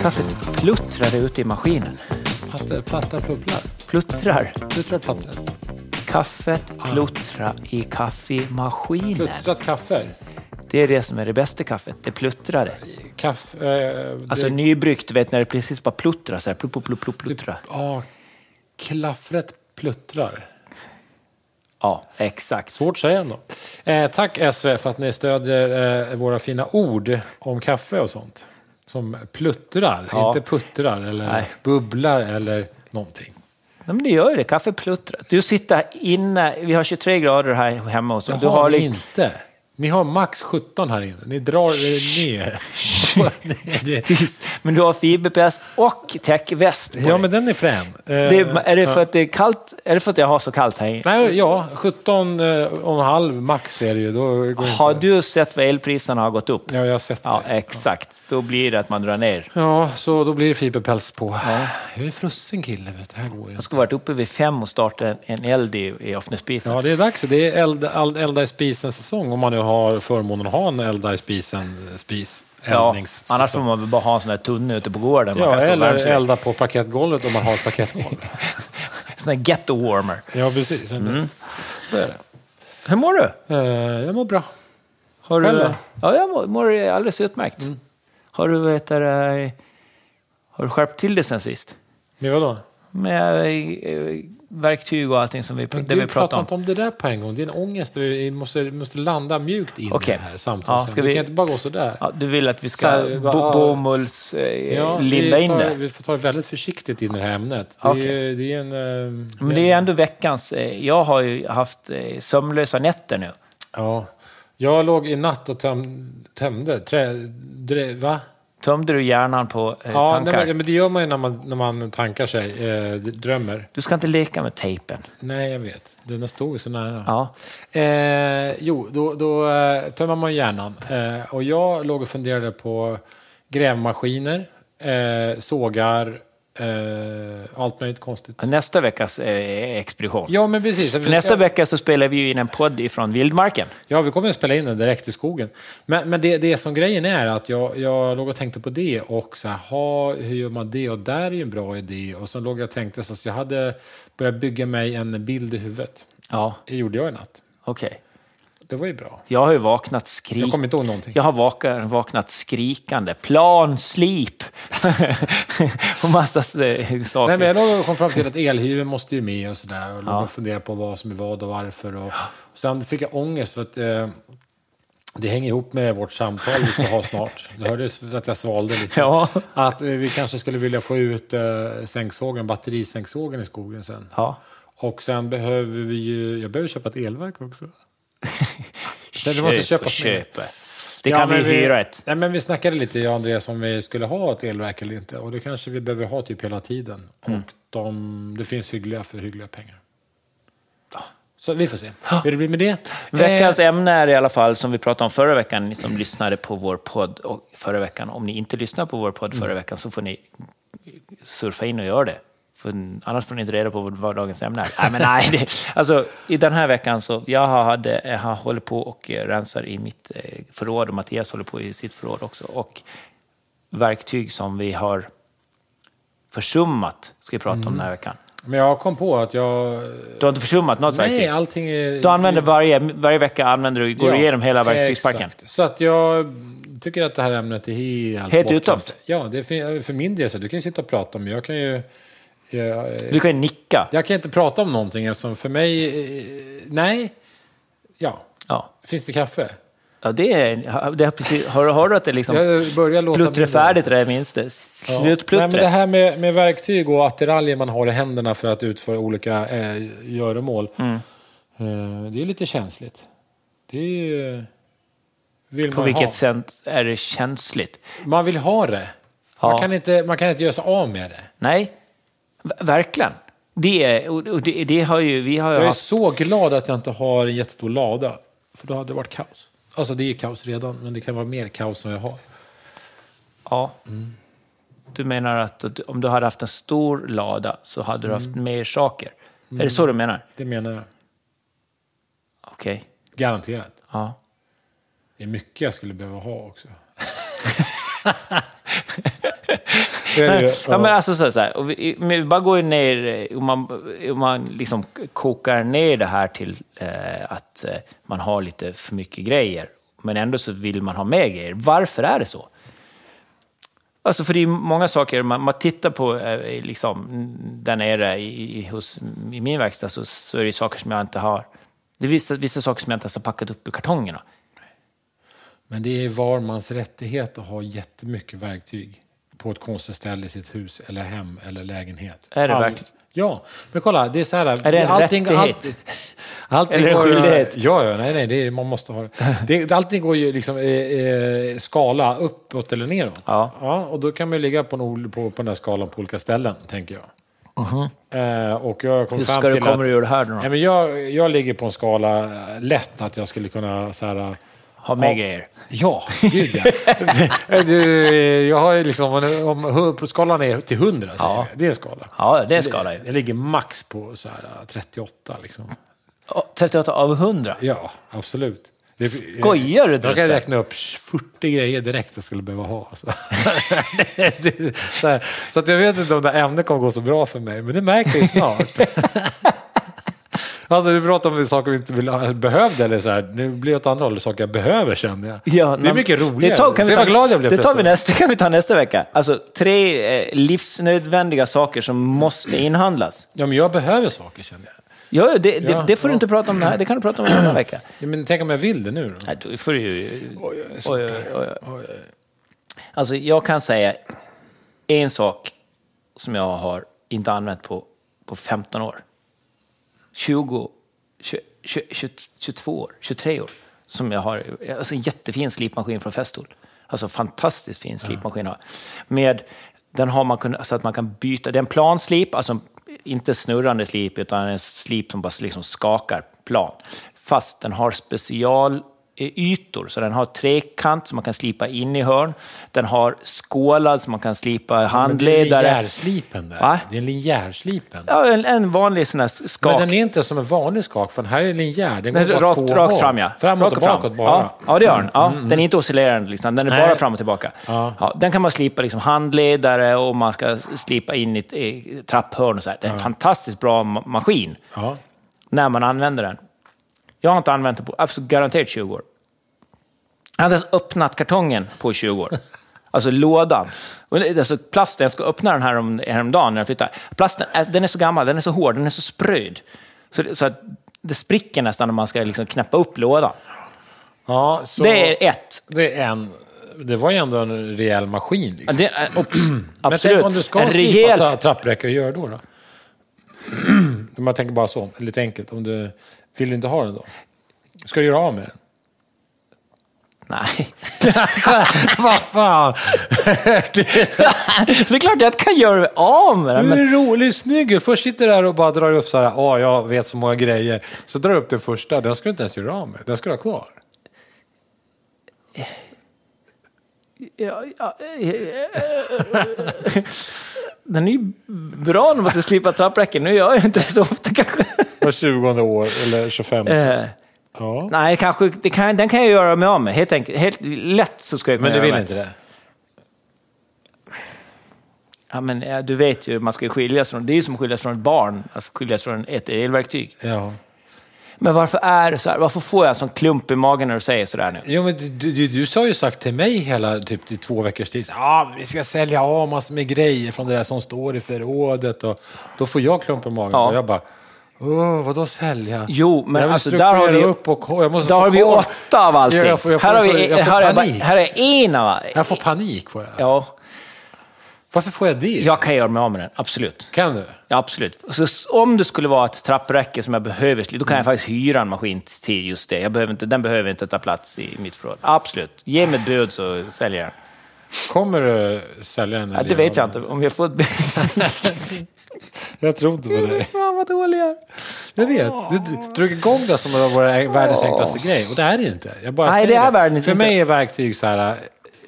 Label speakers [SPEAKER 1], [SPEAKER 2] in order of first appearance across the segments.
[SPEAKER 1] Kaffet pluttrade ute i maskinen.
[SPEAKER 2] Platta, platta plupplar.
[SPEAKER 1] Pluttrar.
[SPEAKER 2] Pluttrar plattor.
[SPEAKER 1] Kaffet
[SPEAKER 2] Ah.
[SPEAKER 1] pluttra i kaffemaskinen.
[SPEAKER 2] Pluttrat kaffe.
[SPEAKER 1] Det är det som är det bästa kaffet. Det pluttrade.
[SPEAKER 2] Kaffe... Eh, det- Typ.
[SPEAKER 1] Alltså nybryggt, du vet när det precis bara pluttrar så här. Plup, plup, plup, plup, pluttra.
[SPEAKER 2] Ja, klaffret pluttrar.
[SPEAKER 1] Ja, exakt.
[SPEAKER 2] Svårt säger ändå. Eh, tack SV för att ni stödjer eh, våra fina ord om kaffe och sånt. Som pluttrar,
[SPEAKER 1] Ja.
[SPEAKER 2] inte puttrar eller
[SPEAKER 1] Nej.
[SPEAKER 2] bubblar eller någonting.
[SPEAKER 1] Ja, men det gör ju det. Kaffe pluttrar. Du sitter inne, vi har 23 grader här hemma hos oss.
[SPEAKER 2] Jaha,
[SPEAKER 1] Du har
[SPEAKER 2] ni
[SPEAKER 1] lite,
[SPEAKER 2] inte. Ni har max 17 här inne. Ni drar er ner. Nej, det-
[SPEAKER 1] men du har fiberpäls och täckväst på
[SPEAKER 2] ja,
[SPEAKER 1] dig.
[SPEAKER 2] men den är frän. Eh,
[SPEAKER 1] det, är- är det för att det är kallt? Är det för att jag har så kallt här inne?
[SPEAKER 2] Nej, ja, 17 eh, och en halv max är det ju. Då går det
[SPEAKER 1] Har
[SPEAKER 2] inte.
[SPEAKER 1] du sett vad elpriserna har gått upp?
[SPEAKER 2] Ja, jag har sett
[SPEAKER 1] Ja, eh.
[SPEAKER 2] det.
[SPEAKER 1] exakt. Då blir det att man drar ner.
[SPEAKER 2] Ja, så då blir det fiberpäls på. Jag är frusen kille, vet du. Det här går ju
[SPEAKER 1] Jag skulle varit uppe vid fem och starta en, en eld i, i öppningsspisen.
[SPEAKER 2] Ja, det är dags. Det är eld, eld, elda i spisens säsong om man nu har förmånen att ha en elda i spisen spis.
[SPEAKER 1] Ja,
[SPEAKER 2] Eldningssäsong.
[SPEAKER 1] annars får man väl bara ha en sån här tunna ute på gården. Man
[SPEAKER 2] ja,
[SPEAKER 1] kan stå och värma
[SPEAKER 2] eller
[SPEAKER 1] sig.
[SPEAKER 2] elda på parkettgolvet om man har ett parkettgolv.
[SPEAKER 1] Sån här ghetto warmer.
[SPEAKER 2] ja, precis.
[SPEAKER 1] Mm.
[SPEAKER 2] Så är det.
[SPEAKER 1] Hur mår du?
[SPEAKER 2] Eh, jag mår bra.
[SPEAKER 1] Har
[SPEAKER 2] Själv då? Mm.
[SPEAKER 1] du ja, jag mår, mår alldeles utmärkt. Har, du, vet, du, eh, har du skärpt till dig sen sist?
[SPEAKER 2] Men vadå?
[SPEAKER 1] Med eh, verktyg och allting som vi,
[SPEAKER 2] Men
[SPEAKER 1] det
[SPEAKER 2] du
[SPEAKER 1] vi
[SPEAKER 2] pratar
[SPEAKER 1] pratade om.
[SPEAKER 2] inte om det där på en gång. Din ångest vi måste, måste landa mjukt in i
[SPEAKER 1] Okej.
[SPEAKER 2] det här samtidigt.
[SPEAKER 1] Ja, ska
[SPEAKER 2] vi...
[SPEAKER 1] vi-
[SPEAKER 2] kan inte bara gå sådär.
[SPEAKER 1] Ja, du vill att vi
[SPEAKER 2] Så
[SPEAKER 1] ska
[SPEAKER 2] här, bara,
[SPEAKER 1] bo,
[SPEAKER 2] ja.
[SPEAKER 1] bomulls... Eh, linda
[SPEAKER 2] vi,
[SPEAKER 1] in
[SPEAKER 2] tar,
[SPEAKER 1] det.
[SPEAKER 2] vi får ta det väldigt försiktigt in i det här ämnet. Det,
[SPEAKER 1] Okej.
[SPEAKER 2] är, det är en... eh,
[SPEAKER 1] Men det är ändå veckans... eh, Jag har ju haft eh, sömnlösa nätter nu.
[SPEAKER 2] Ja. Jag låg i natt och töm, tömde. Trä, drä, va?
[SPEAKER 1] Tömde du hjärnan på eh,
[SPEAKER 2] Ja, nej,
[SPEAKER 1] tankar?
[SPEAKER 2] men, men det gör man ju när man, när man tankar sig, eh, d- drömmer.
[SPEAKER 1] Du ska inte leka med tejpen.
[SPEAKER 2] Nej, jag vet. Den stod ju så nära.
[SPEAKER 1] Ja.
[SPEAKER 2] Eh, jo, då, då eh, tömmer man hjärnan. Eh, och jag låg och funderade på grävmaskiner, eh, sågar, eh, allt möjligt konstigt.
[SPEAKER 1] Nästa veckas eh, expedition.
[SPEAKER 2] Ja, men precis.
[SPEAKER 1] För nästa vecka så spelar vi ju in en podd ifrån vildmarken.
[SPEAKER 2] Ja, vi kommer att spela in den direkt i skogen. Men, men det, det som grejen är att jag, jag låg och tänkte på det och så här, ha, hur gör man det? Och där är ju en bra idé. Och så låg jag och tänkte så, så jag hade börjat bygga mig en bild i huvudet.
[SPEAKER 1] Ja,
[SPEAKER 2] Det gjorde jag i natt.
[SPEAKER 1] okej.
[SPEAKER 2] Det var ju bra.
[SPEAKER 1] Jag har ju vaknat skrik...
[SPEAKER 2] Jag kommer inte ihåg någonting.
[SPEAKER 1] Jag har vaka- vaknat skrikande. Planslip! och massa eh, saker.
[SPEAKER 2] Nej, men jag låg och kom fram till att elhyven måste ju med och sådär. Och låg och funderade på vad som är vad och varför. Och, och sen fick jag ångest för att eh, det hänger ihop med vårt samtal vi ska ha snart. Du hörde att jag svalde lite.
[SPEAKER 1] Ja.
[SPEAKER 2] Att eh, vi kanske skulle vilja få ut eh, sänksågen, batterisänksågen i skogen sen.
[SPEAKER 1] Ja.
[SPEAKER 2] Och sen behöver vi ju... Jag behöver köpa ett elverk också. Så vi måste köpa
[SPEAKER 1] köpa. Det kan vi hyra ett.
[SPEAKER 2] Nej, men vi snackade lite, jag och Andreas, om vi skulle ha ett elverk eller inte. Och det kanske vi behöver ha typ hela tiden. Och de, det finns hyggliga för hyggliga pengar. Så vi får se hur det blir med det. Eh,
[SPEAKER 1] Veckans ämne är i alla fall, som vi pratade om förra veckan, ni som lyssnade på vår podd och förra veckan. Om ni inte lyssnade på vår podd förra veckan så får ni surfa in och göra det. För annars får ni inte reda på vad dagens ämne är. Nej, men nej, det, alltså, I den här veckan så jag har hade, jag har håller på och eh, rensar i mitt eh, förråd och Mattias håller på i sitt förråd också. Och verktyg som vi har försummat ska vi prata om den här veckan.
[SPEAKER 2] Men jag kom på att jag...
[SPEAKER 1] Du har inte försummat något
[SPEAKER 2] Nej,
[SPEAKER 1] verktyg?
[SPEAKER 2] allting är...
[SPEAKER 1] Du använder varje, varje vecka använder du, går du
[SPEAKER 2] Ja,
[SPEAKER 1] igenom hela verktygsparken?
[SPEAKER 2] exakt. Så att jag tycker att det här ämnet är helt
[SPEAKER 1] Helt
[SPEAKER 2] bortkastat.
[SPEAKER 1] uttömt.
[SPEAKER 2] Ja, det är för, för min del så. Du kan ju sitta och prata om, jag kan ju... Jag,
[SPEAKER 1] Du kan ju nicka.
[SPEAKER 2] jag kan inte prata om någonting eftersom för mig... eh, Nej. Ja.
[SPEAKER 1] Ja.
[SPEAKER 2] Finns det kaffe?
[SPEAKER 1] Ja, det är, det är precis, har, har du att det liksom
[SPEAKER 2] Jag börjar låta...
[SPEAKER 1] pluttrar färdigt det där minst?
[SPEAKER 2] Ja.
[SPEAKER 1] Slutpluttret?
[SPEAKER 2] Nej, men det här med, med verktyg och attiraljer man har i händerna för att utföra olika eh, göromål.
[SPEAKER 1] Mm.
[SPEAKER 2] Eh, det är lite känsligt. Det är ju... Vill
[SPEAKER 1] På
[SPEAKER 2] man ha.
[SPEAKER 1] vilket sätt är det känsligt?
[SPEAKER 2] Man vill ha det.
[SPEAKER 1] Ja.
[SPEAKER 2] Man, kan inte, man kan inte göra sig av med det.
[SPEAKER 1] Nej, v- verkligen. Det, är- och och det, det har ju, vi har ju
[SPEAKER 2] Jag är
[SPEAKER 1] haft,
[SPEAKER 2] så glad att jag inte har en jättestor lada. För då hade det varit kaos. Alltså det är kaos redan, men det kan vara mer kaos än jag har.
[SPEAKER 1] ja.
[SPEAKER 2] Mm.
[SPEAKER 1] Du menar att att om du hade haft en stor lada så hade du
[SPEAKER 2] Mm.
[SPEAKER 1] haft mer saker? Är det så du menar?
[SPEAKER 2] Det menar jag.
[SPEAKER 1] Okej.
[SPEAKER 2] Garanterat.
[SPEAKER 1] Ja.
[SPEAKER 2] Det är mycket jag skulle behöva ha också. Det är det ju.
[SPEAKER 1] Ja, men alltså så, så här, och vi, men vi bara går ner, eh, om man, om man liksom kokar ner det här till eh, att eh, man har lite för mycket grejer, men ändå så vill man ha mer grejer. Varför är det så? Alltså för det är många saker, man, man tittar på eh, liksom, där nere i, i, hos, i min verkstad så, så är det ju saker som jag inte har. Det är vissa, vissa saker som jag inte ens har packat upp i kartongerna.
[SPEAKER 2] Men det är var mans rättighet att ha jättemycket verktyg på ett konstställe i sitt hus, eller hem eller lägenhet.
[SPEAKER 1] Är det
[SPEAKER 2] All-
[SPEAKER 1] verkligen?
[SPEAKER 2] Ja, men kolla, det är så här.
[SPEAKER 1] Är det en rättighet?
[SPEAKER 2] Allting, allting
[SPEAKER 1] Eller en
[SPEAKER 2] går ju-
[SPEAKER 1] skyldighet?
[SPEAKER 2] Ja, ja, nej, nej, det är, man måste ha det. det. Allting går ju liksom eh, eh, skala uppåt eller neråt.
[SPEAKER 1] Ja.
[SPEAKER 2] och då kan man ju ligga på, en, ol- på, på den där skalan på olika ställen, tänker jag. Eh, och jag kom
[SPEAKER 1] Hur
[SPEAKER 2] fram
[SPEAKER 1] ska Mhm. du,
[SPEAKER 2] till
[SPEAKER 1] kommer
[SPEAKER 2] att,
[SPEAKER 1] du göra det här då?
[SPEAKER 2] Nej, men jag, jag ligger på en skala eh, lätt att jag skulle kunna så här, eh,
[SPEAKER 1] Ha mer
[SPEAKER 2] ja.
[SPEAKER 1] grejer.
[SPEAKER 2] Ja, gud ja. du, jag har ju liksom, om, om på skalan är till 100, säger
[SPEAKER 1] Ja.
[SPEAKER 2] vi. det är en skala.
[SPEAKER 1] Ja, det är
[SPEAKER 2] Så
[SPEAKER 1] skala ju.
[SPEAKER 2] Jag ligger max på så här 38 liksom.
[SPEAKER 1] Åh, 38 av 100?
[SPEAKER 2] Ja, absolut. Det,
[SPEAKER 1] Skojar du,
[SPEAKER 2] Jag Eh, kan
[SPEAKER 1] Drutte?
[SPEAKER 2] räkna upp 40 grejer direkt jag skulle behöva ha. Så, Det- så, här. så att jag vet inte om det här ämnet kommer gå så bra för mig, men det märker jag ju snart. Alltså, du pratar om saker vi inte vill, ha- behövde, eller så här. nu blir det åt andra hållet, saker jag behöver känner jag. det är
[SPEAKER 1] nej,
[SPEAKER 2] mycket roligare.
[SPEAKER 1] Det, tar, kan vi
[SPEAKER 2] Se
[SPEAKER 1] ta,
[SPEAKER 2] vad glad jag blev
[SPEAKER 1] det tar vi
[SPEAKER 2] plötsligt.
[SPEAKER 1] nästa, kan vi ta nästa vecka. Alltså tre eh, livsnödvändiga saker som måste inhandlas.
[SPEAKER 2] Ja, men jag behöver saker känner jag.
[SPEAKER 1] Ja, ja, det,
[SPEAKER 2] Ja,
[SPEAKER 1] det, det får
[SPEAKER 2] ja.
[SPEAKER 1] du inte prata om det här, det kan du prata om nästa vecka.
[SPEAKER 2] Ja, men tänk om jag vill det nu då?
[SPEAKER 1] Nej, då får du ju...
[SPEAKER 2] Oj, jag är så-
[SPEAKER 1] Oj, oj, oj, oj. Alltså, jag kan säga en sak som jag har inte använt på, på 15 år. 20, 20, 22 år, 23 år. Som jag har, alltså en jättefin slipmaskin från Festool. Alltså fantastiskt fin slipmaskin. har jag. Med, den har man kunnat, så att man kan byta, det är en planslip, alltså inte snurrande slip, utan en slip som bara liksom skakar plan. Fast den har specialytor, så den har trekant som man kan slipa in i hörn. Den har skålad som man kan slipa
[SPEAKER 2] Men Det är en
[SPEAKER 1] handledare.
[SPEAKER 2] linjärslipen där.
[SPEAKER 1] Va?
[SPEAKER 2] Det är en linjärslipen.
[SPEAKER 1] Ja, en, en vanlig sån här skak.
[SPEAKER 2] Men den är inte som en vanlig skak, för den här är linjär. Den går
[SPEAKER 1] Den är
[SPEAKER 2] bara
[SPEAKER 1] rakt,
[SPEAKER 2] två
[SPEAKER 1] rakt
[SPEAKER 2] håll.
[SPEAKER 1] fram, ja.
[SPEAKER 2] Framåt
[SPEAKER 1] rakt
[SPEAKER 2] och bakåt
[SPEAKER 1] fram.
[SPEAKER 2] bara. Mm.
[SPEAKER 1] Ja, ja, det gör den. Ja, Den är inte oscillerande, liksom. den är
[SPEAKER 2] Nej.
[SPEAKER 1] bara fram och tillbaka.
[SPEAKER 2] Ja.
[SPEAKER 1] Ja. den kan man slipa liksom, handledare och man ska slipa in i ett eh, trapphörn och så här. Det är en fantastiskt bra ma- maskin
[SPEAKER 2] Ja.
[SPEAKER 1] när man använder den. Jag har inte använt den på absolut garanterat 20 år. Jag hade ens öppnat kartongen på 20 år. Alltså lådan. Och det- Alltså plasten, jag ska öppna den här om, häromdagen när jag flyttade. Plasten är, den är så gammal, den är så hård, den är så spröd. Så, det- så att det spricker nästan när man ska liksom knäppa upp lådan.
[SPEAKER 2] ja så
[SPEAKER 1] Det är ett.
[SPEAKER 2] det är en... Det var ju ändå en rejäl maskin. Liksom.
[SPEAKER 1] Det är, ops,
[SPEAKER 2] Men tänk
[SPEAKER 1] absolut.
[SPEAKER 2] om du ska
[SPEAKER 1] en
[SPEAKER 2] slipa
[SPEAKER 1] rejäl...
[SPEAKER 2] tra- trappräcke, hur gör du då? då? Om jag tänker bara så, lite enkelt. Om du vill du inte ha den då? Ska du göra av med den?
[SPEAKER 1] Nej.
[SPEAKER 2] Vad fan!
[SPEAKER 1] det är klart jag kan göra av med den.
[SPEAKER 2] Du
[SPEAKER 1] Men...
[SPEAKER 2] är rolig, snygg Först sitter du där och bara drar upp så här, ja, jag vet så många grejer. Så drar du upp den första, den ska du inte ens göra av med, den ska du ha kvar.
[SPEAKER 1] Ja, ja, eh, eh, eh. Den är ju bra när man ska slipa trappräcken. Nu gör jag inte det så ofta kanske.
[SPEAKER 2] Var 20 år eller 25.
[SPEAKER 1] Eh,
[SPEAKER 2] Ja.
[SPEAKER 1] nej, kanske, det kan, den kan jag göra mig av med. Helt enkelt. Helt lätt så ska jag kunna
[SPEAKER 2] Men du
[SPEAKER 1] göra
[SPEAKER 2] vill
[SPEAKER 1] mig.
[SPEAKER 2] inte det?
[SPEAKER 1] Ja, men, eh, du vet ju, man ska ju skiljas från... Det är ju som att skiljas från ett barn, alltså skiljas från ett elverktyg.
[SPEAKER 2] Ja.
[SPEAKER 1] Men varför är det så här? Varför får jag en sån klump i magen när du säger sådär nu?
[SPEAKER 2] Jo, men du, du, du har ju sagt till mig hela typ i två veckors tid, ja, vi ska sälja av massor med grejer från det där som står i förrådet och då får jag klump i magen
[SPEAKER 1] Ja.
[SPEAKER 2] och jag bara, Åh, vadå sälja?
[SPEAKER 1] Jo, men
[SPEAKER 2] jag vill
[SPEAKER 1] alltså, där har vi-
[SPEAKER 2] strukturera upp och jag måste
[SPEAKER 1] Där
[SPEAKER 2] få
[SPEAKER 1] har vi
[SPEAKER 2] koll.
[SPEAKER 1] åtta av allting.
[SPEAKER 2] Jag, jag får, jag får,
[SPEAKER 1] här, har
[SPEAKER 2] så-
[SPEAKER 1] vi,
[SPEAKER 2] jag får
[SPEAKER 1] här, är,
[SPEAKER 2] panik.
[SPEAKER 1] bara- här är en av...
[SPEAKER 2] Jag får panik. Får jag.
[SPEAKER 1] Ja,
[SPEAKER 2] Varför får jag det?
[SPEAKER 1] jag kan göra mig av med den, absolut.
[SPEAKER 2] Kan du?
[SPEAKER 1] Ja, absolut. Så s- om det skulle vara ett trappräcke som jag behöver, sli- då kan
[SPEAKER 2] Mm.
[SPEAKER 1] jag faktiskt hyra en maskin t- till just det. Jag behöver inte, den behöver inte ta plats i mitt förråd. Absolut. Ge mig ett bud så säljer jag den.
[SPEAKER 2] Kommer du sälja den?
[SPEAKER 1] Ja,
[SPEAKER 2] eller
[SPEAKER 1] det vet jag
[SPEAKER 2] göra den?
[SPEAKER 1] inte. Om jag får ett bud...
[SPEAKER 2] Jag tror inte på dig.
[SPEAKER 1] Fan vad dålig jag är.
[SPEAKER 2] Jag vet. Du du drog igång det som var vår världens enklaste grej. Och det är det inte. Jag bara
[SPEAKER 1] Nej,
[SPEAKER 2] säger
[SPEAKER 1] det är världens
[SPEAKER 2] För
[SPEAKER 1] inte.
[SPEAKER 2] mig är verktyg så här...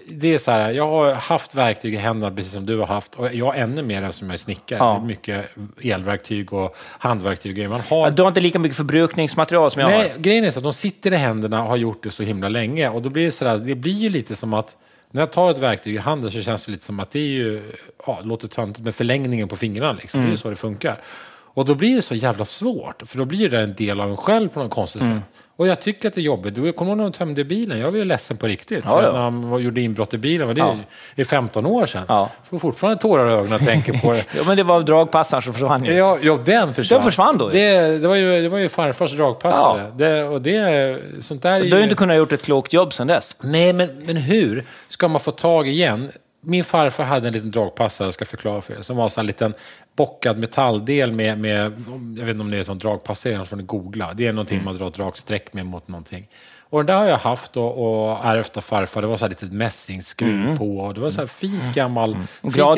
[SPEAKER 2] det är så här, jag har haft verktyg i händerna precis som du har haft och jag ännu mer eftersom jag är snickare.
[SPEAKER 1] Ja.
[SPEAKER 2] Det är Mycket elverktyg och handverktyg. och grejer. Man har
[SPEAKER 1] Ja, Du har inte lika mycket förbrukningsmaterial som jag
[SPEAKER 2] Nej,
[SPEAKER 1] har.
[SPEAKER 2] grejen är så att de sitter i händerna och har gjort det så himla länge. Och då blir det sådär, det blir ju lite som att när jag tar ett verktyg i handen så känns det lite som att det är ju, ja, det låter töntigt, men förlängningen på fingrarna liksom.
[SPEAKER 1] Mm.
[SPEAKER 2] Det är ju så det funkar. Och då blir det så jävla svårt, för då blir det en del av en själv på något konstigt
[SPEAKER 1] Mm.
[SPEAKER 2] sätt. Och jag tycker att det är jobbigt. Du, Kommer du ihåg när de tömde bilen? Jag var ju ledsen på riktigt.
[SPEAKER 1] Ja, ja.
[SPEAKER 2] När han var- gjorde inbrott i bilen, var det
[SPEAKER 1] Ja.
[SPEAKER 2] är 15 år sedan.
[SPEAKER 1] Ja.
[SPEAKER 2] Får fortfarande tårar i ögonen när jag tänker på det.
[SPEAKER 1] Ja, men det var dragpassaren som försvann ju.
[SPEAKER 2] Ja, ja, den försvann.
[SPEAKER 1] Den försvann då ju.
[SPEAKER 2] Det, det, var ju, det var ju farfars dragpassare.
[SPEAKER 1] Ja.
[SPEAKER 2] Det, och det, sånt där är
[SPEAKER 1] Du har ju inte kunnat gjort ett klokt jobb sedan dess.
[SPEAKER 2] Nej, men, men hur ska man få tag igen? Min farfar hade en liten dragpassare, jag ska förklara för er, som var så här en liten bockad metalldel med, med, jag vet inte om det är en dragpassare, annars får ni googla. Det är
[SPEAKER 1] Mm.
[SPEAKER 2] någonting man drar ett dragsträck med mot någonting. Och den där har jag haft och, och ärvt av farfar. Det var så här litet mässingsskruv på och det var så här fint gammal... fint gammalt
[SPEAKER 1] Mm.